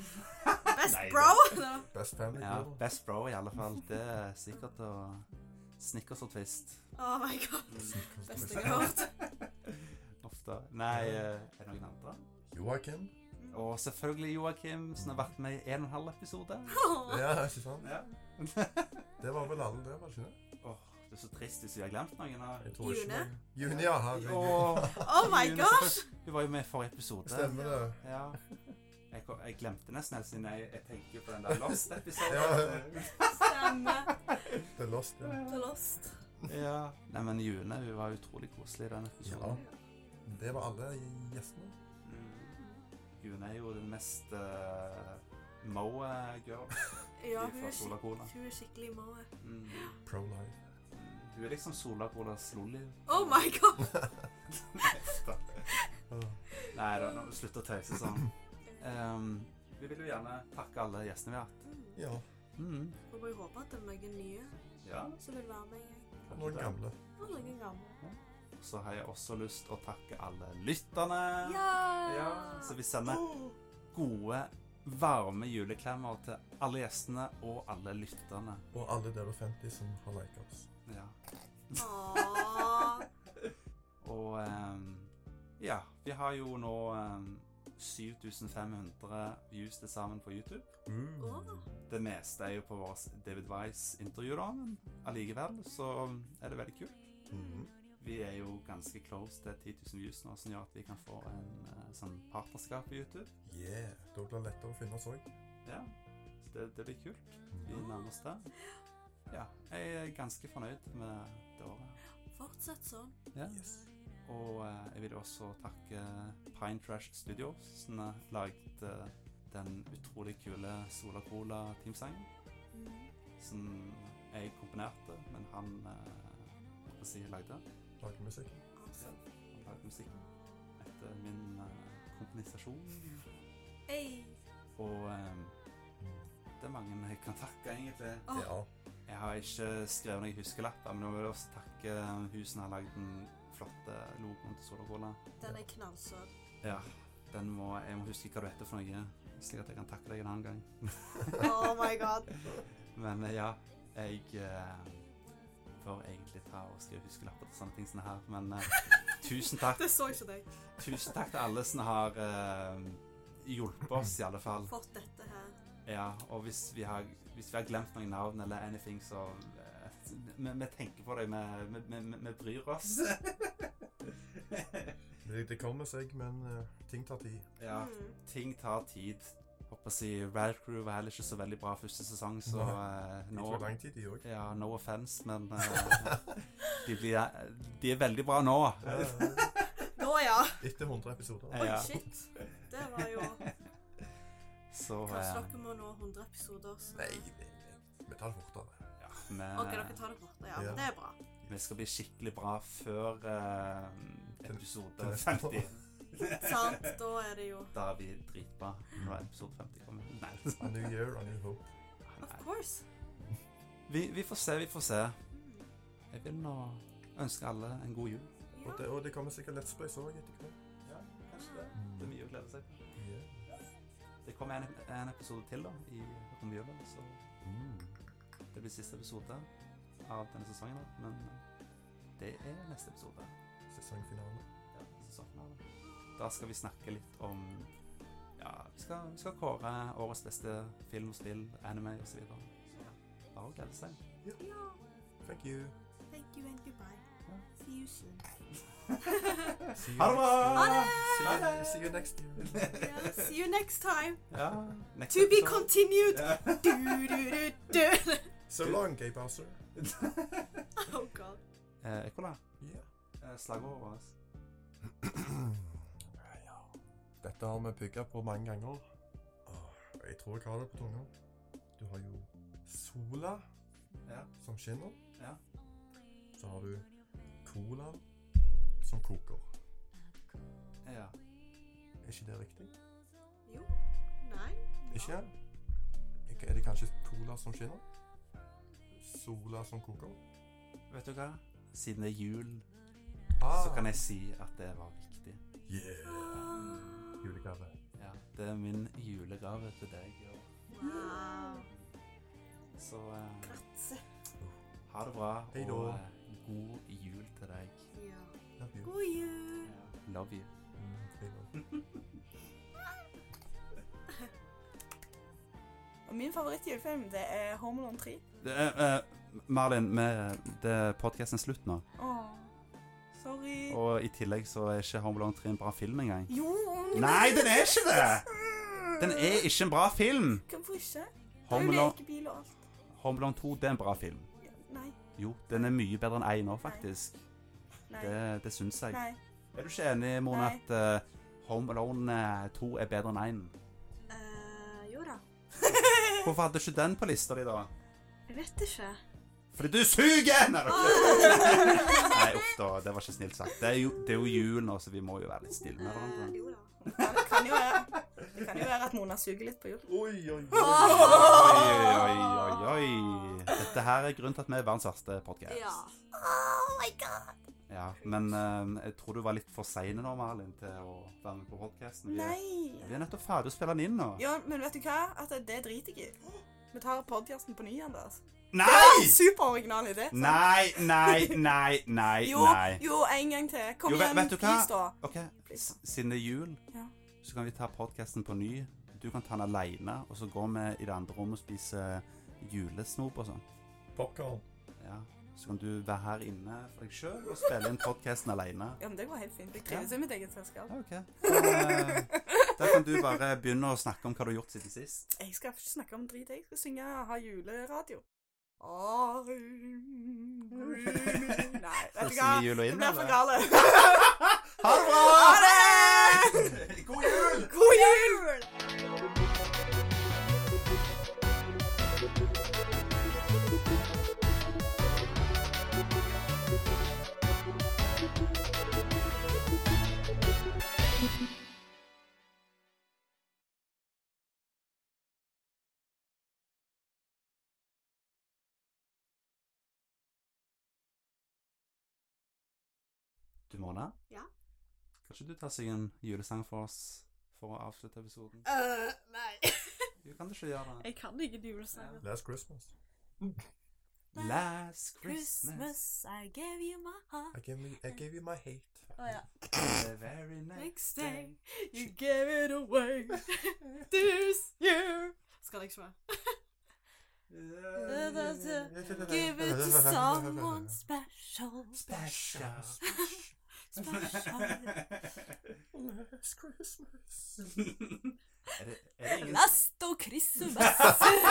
Best Nei, bro! Best family. Ja, brother. best bro, i alle fall. Det er sikkert å Snickers og Twist. Oh my god. Snickers. Beste jeg har hørt. Ofte. Nei, eh, er det noen andre? Joakim. Og selvfølgelig Joakim, som har vært med i en og en halv episode. Åh. Ja, ikke sant? Ja. Det var vel alle, det, var det ikke det? Åh, det er så trist hvis vi har glemt noen. av- Jeg tror ikke June? noe- June, ja. Herregud. Åh, Oh my June, god! selvfølgelig. Hun var jo med i forrige episode. Stemmer det. Ja. Jeg, kom- jeg glemte nesten helt siden jeg, jeg tenker på den der Lost-episoden. Ja. Stemmer. Det er lost, ja. uh, The Lost. Ja. Nei, men June hun var utrolig koselig i den Oh. episoden. Det var alle gjestene. Mm. June er jo den mest uh, Moe-girl Ja, hun er, fra skik Sola Cola. hun er skikkelig moe. Mm. Pro life. Hun er liksom Sola Colas Lolly. Oh my god! Nei, da, nå slutt å tøyse sånn. Ehm, vi vil jo gjerne takke alle gjestene vi har hatt. Mm. Ja. Mm. Og må jo håpe at det er noen nye Ja, som vil være med. jeg. kanskje Noen det. gamle. Og noen gamle. Så har jeg også lyst å takke alle lytterne. Ja, Så vi sender Åh. gode, varme juleklemmer til alle gjestene og alle lytterne. Og alle der og 50 som har liket oss. Ja. Åh. Og ehm, ja, vi har jo nå ehm, 7500 views til sammen på YouTube. Åh. Det meste er jo på vårt David Wise-intervju, da, men allikevel så er det veldig kult. Mhm. Vi er jo ganske close til 10 000 views nå, som gjør at vi kan få en eh, sånn partnerskap på YouTube. Yeah. Da blir det lettere å finne oss òg. Ja, så det, det blir kult. Vi nærmer oss det. Ja, jeg er ganske fornøyd med det året. Fortsett sånn. Ja. Yes. Og eh, jeg vil også takke Pine Trash Studios, som har laget eh, den utrolig kule Sola Cola-teamsangen. Mm. Som jeg komponerte, men han eh, hva skal jeg si, lagde. Lager musikk. Awesome. Han lagde musikken etter min eh, kompensasjon. Hey. Og eh, det er mange jeg kan takke, egentlig. Åh. Ja. Jeg har ikke skrevet noen huskelapper, men jeg vil også takke hun som har lagd den flotte logoen til Solagåla. Den er knallsøt. Ja, den må, jeg må huske hva du heter for noe, slik at jeg kan takke deg en annen gang. Oh my god. Men eh, ja, jeg eh, bør egentlig ta og skrive huskelapper til sånne ting som det her, men eh, tusen takk. Det så ikke deg. Tusen takk til alle som har eh, hjulpet oss, i alle fall. Fått dette her. Ja, og hvis vi har, hvis vi har glemt noen navn eller anything, så eh, vi, vi tenker på deg, vi, vi, vi, vi bryr oss. Det, det kommer seg, men eh, ting tar tid. ja, Mm. ting tar tid. Håper å si Rad Crew var heller ikke så veldig bra første sesong, så eh, Det nå tok lang tid, de òg. ja, No offense, men eh, de, blir, de er veldig bra nå. Nå ja. Etter 100 episoder. Oi, Ja. shit. Det var jo Så Kanskje eh, dere må nå 100 episoder. Så. Nei, nei, nei. Vi tar det fortere. ja, OK, vi, dere tar det borte. Ja, Ja. det er bra. vi skal bli skikkelig bra før eh, Til- til episode neste år. 50. Sant. Da er det jo Da er vi dritbra når episode 50 kommer. Nei. A new year, a new hope. Of Nei. course. Vi, vi får se, vi får se. Mm. Jeg vil nå ønske alle en god jul. Og det, og det kommer sikkert Let's Plays òg etter hvert. Ja, kanskje det. Det er mye å glede seg til. Yeah. Det kommer en, en episode til da, i romjula, så Mm. det blir siste episode av denne sesongen. da. Men eh, det er neste episode. Sesongfinale. Ja, sesongen da. da skal vi snakke litt om Ja, vi skal, vi skal kåre årets beste film og spill, anime osv. Så videre. Så bare å glede seg. Ja. Thank you. Thank you and goodbye. Ja. See you soon. See you Ha det bra! next year. Ha Ah, See you, det! see you next year. Yeah, see you next time. Ja, next To be episode. continued. Ja. Du, du, du, du. So long, gay bowser. Oh god. Eh, Ekola, Yeah. eh, slagordet vårt. ja. Dette har vi pugga på mange ganger. Åh, Jeg tror jeg har det på tunga. Du har jo sola Ja. som skinner. Ja. Så har du colaen som koker. ja. Er ikke det riktig? Jo. Nei. Ikke? Ikke- Er det kanskje cola som skinner? Sola som koker? Vet du hva? Siden det er jul, Ah, så kan jeg si at det var viktig. Yeah! Ah. Julegave. Ja, det er min julegave til deg. og- Wow. Så eh, Grazie. ha det bra, Hei da. og eh, god jul til deg. Ja. Love you. God jul. Love you. Mm, hei da. Og min favorittjulefilm, det er Home Alone 3. Det er, eh, Marlin, vi- det er podcasten slutt nå. Åh, sorry. Og i tillegg så er ikke Home Alone 3 en bra film engang. Jo! Nei, den er ikke det! Den er ikke en bra film! Hvorfor ikke? Det er Home jo Alone, lekebil og alt. Home Alone 2 det er en bra film. Ja, Nei. Jo, den er mye bedre enn én nå, faktisk. Nei. Det, det syns jeg. Nei. Er du ikke enig, Mona, Nei. at eh, Home Alone eh, 2 er bedre enn 1? Eh, jo da. Hvorfor hadde du ikke den på lista di, da? Jeg vet ikke. Fordi du suger! Nei, da. Ah. Nei uff da, det var ikke snilt sagt. Det er jo, det er jo jul nå, så vi må jo være litt stille med Eh, hverandre. jo da. Det kan jo være, det kan jo være at Mona suger litt på jul. Oi, oi, Oi, oi. oi, oi, oi. Dette her er grunnen til at vi er verdens verste podcast. Ja. Oh my god! Ja, men eh, jeg tror du var litt for sein nå, Malin, til å være med på podcasten. Vi, er- Nei. vi er nettopp ferdig å spille den inn nå. Ja, men vet du hva? At det driter jeg i. Vi tar podcasten på ny igjen, da. altså. Nei! Superoriginal idé. sant? Nei, nei, nei, nei, Jo, nei. jo, en gang til. Kom Jo, vet- igjen, vet du hva? please, da. Ok, Please. s- siden det er jul, Ja. så kan vi ta podcasten på ny. Du kan ta den alene, og så går vi i det andre rommet og spiser julesnop og sånn. Popcorn. Ja. Så kan du være her inne for deg sjøl og spille inn podcasten alene. Ja, men det går helt fint. Jeg trives i mitt eget selskap. Ja, OK. Så, eh, Da kan du bare begynne å snakke om hva du har gjort siden sist. Jeg skal ikke snakke om drit, jeg skal synge og ha juleradio. I'm dreaming. Nei, Skal vet du du hva? synge jul og Det inn, blir for eller? gale. Ha det bra! Ha det! God jul! God jul! Du, Mona? Ja? Kan ikke du ta seg en julesang for oss for å avslutte episoden? Øh, nei. Du kan ikke gjøre det. Jeg kan ingen julesanger. Last Christmas. Last Christmas. I gave you my heart. I gave, me, I gave you my hate. Å ja. The very Next next day. day. You gave it away this year. Skal jeg ikke være? Give Give it to someone special. Special. Special. Last Christmas. er, det, er det ingen Last og Christmas.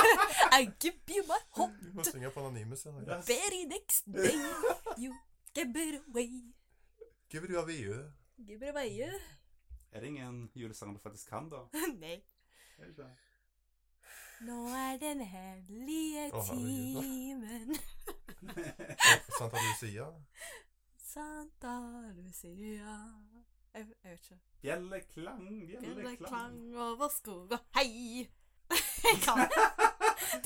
I give you my heart. Du må synge på anonyme scener. Very next day. You give it away. Give it Eh, away. you. Give it away. Er det ingen julesanger du faktisk kan, da? Nei. Er det ikke? Nå er den hellige Å, herregud. timen. Santa Lucia. Santa Lucia. Jeg, jeg vet ikke. Bjelleklang, bjelleklang. Bjelleklang over skog og hei. Jeg kan.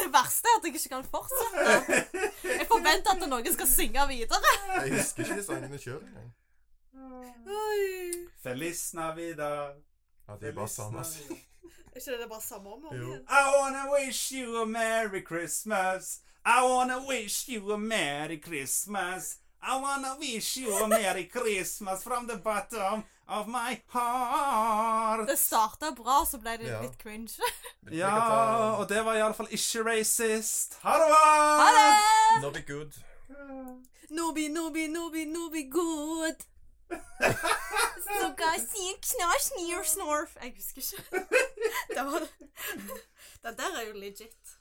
Det verste er at jeg ikke kan fortsette. Jeg forventer at noen skal synge videre. Jeg husker ikke de sangene sjøl engang. Oi. Feliz Navidad. Ja, de er bare sanne. ass. Navidad. Er ikke det det er bare samme om og om Jo. igjen? I wanna wish you a merry Christmas. I wanna wish you a merry Christmas. I wanna wish you a merry Christmas from the bottom of my heart. Det starta bra, så ble det Ja. litt cringe. Vi kan Ja, ta- og det var iallfall ikke racist. Ha det bra! Ha det! Not be good. Nobi, nobi, nobi, nobi good. So guys, see you knar, snir, snorf. Jeg husker ikke. Det var det. Den der er jo legit.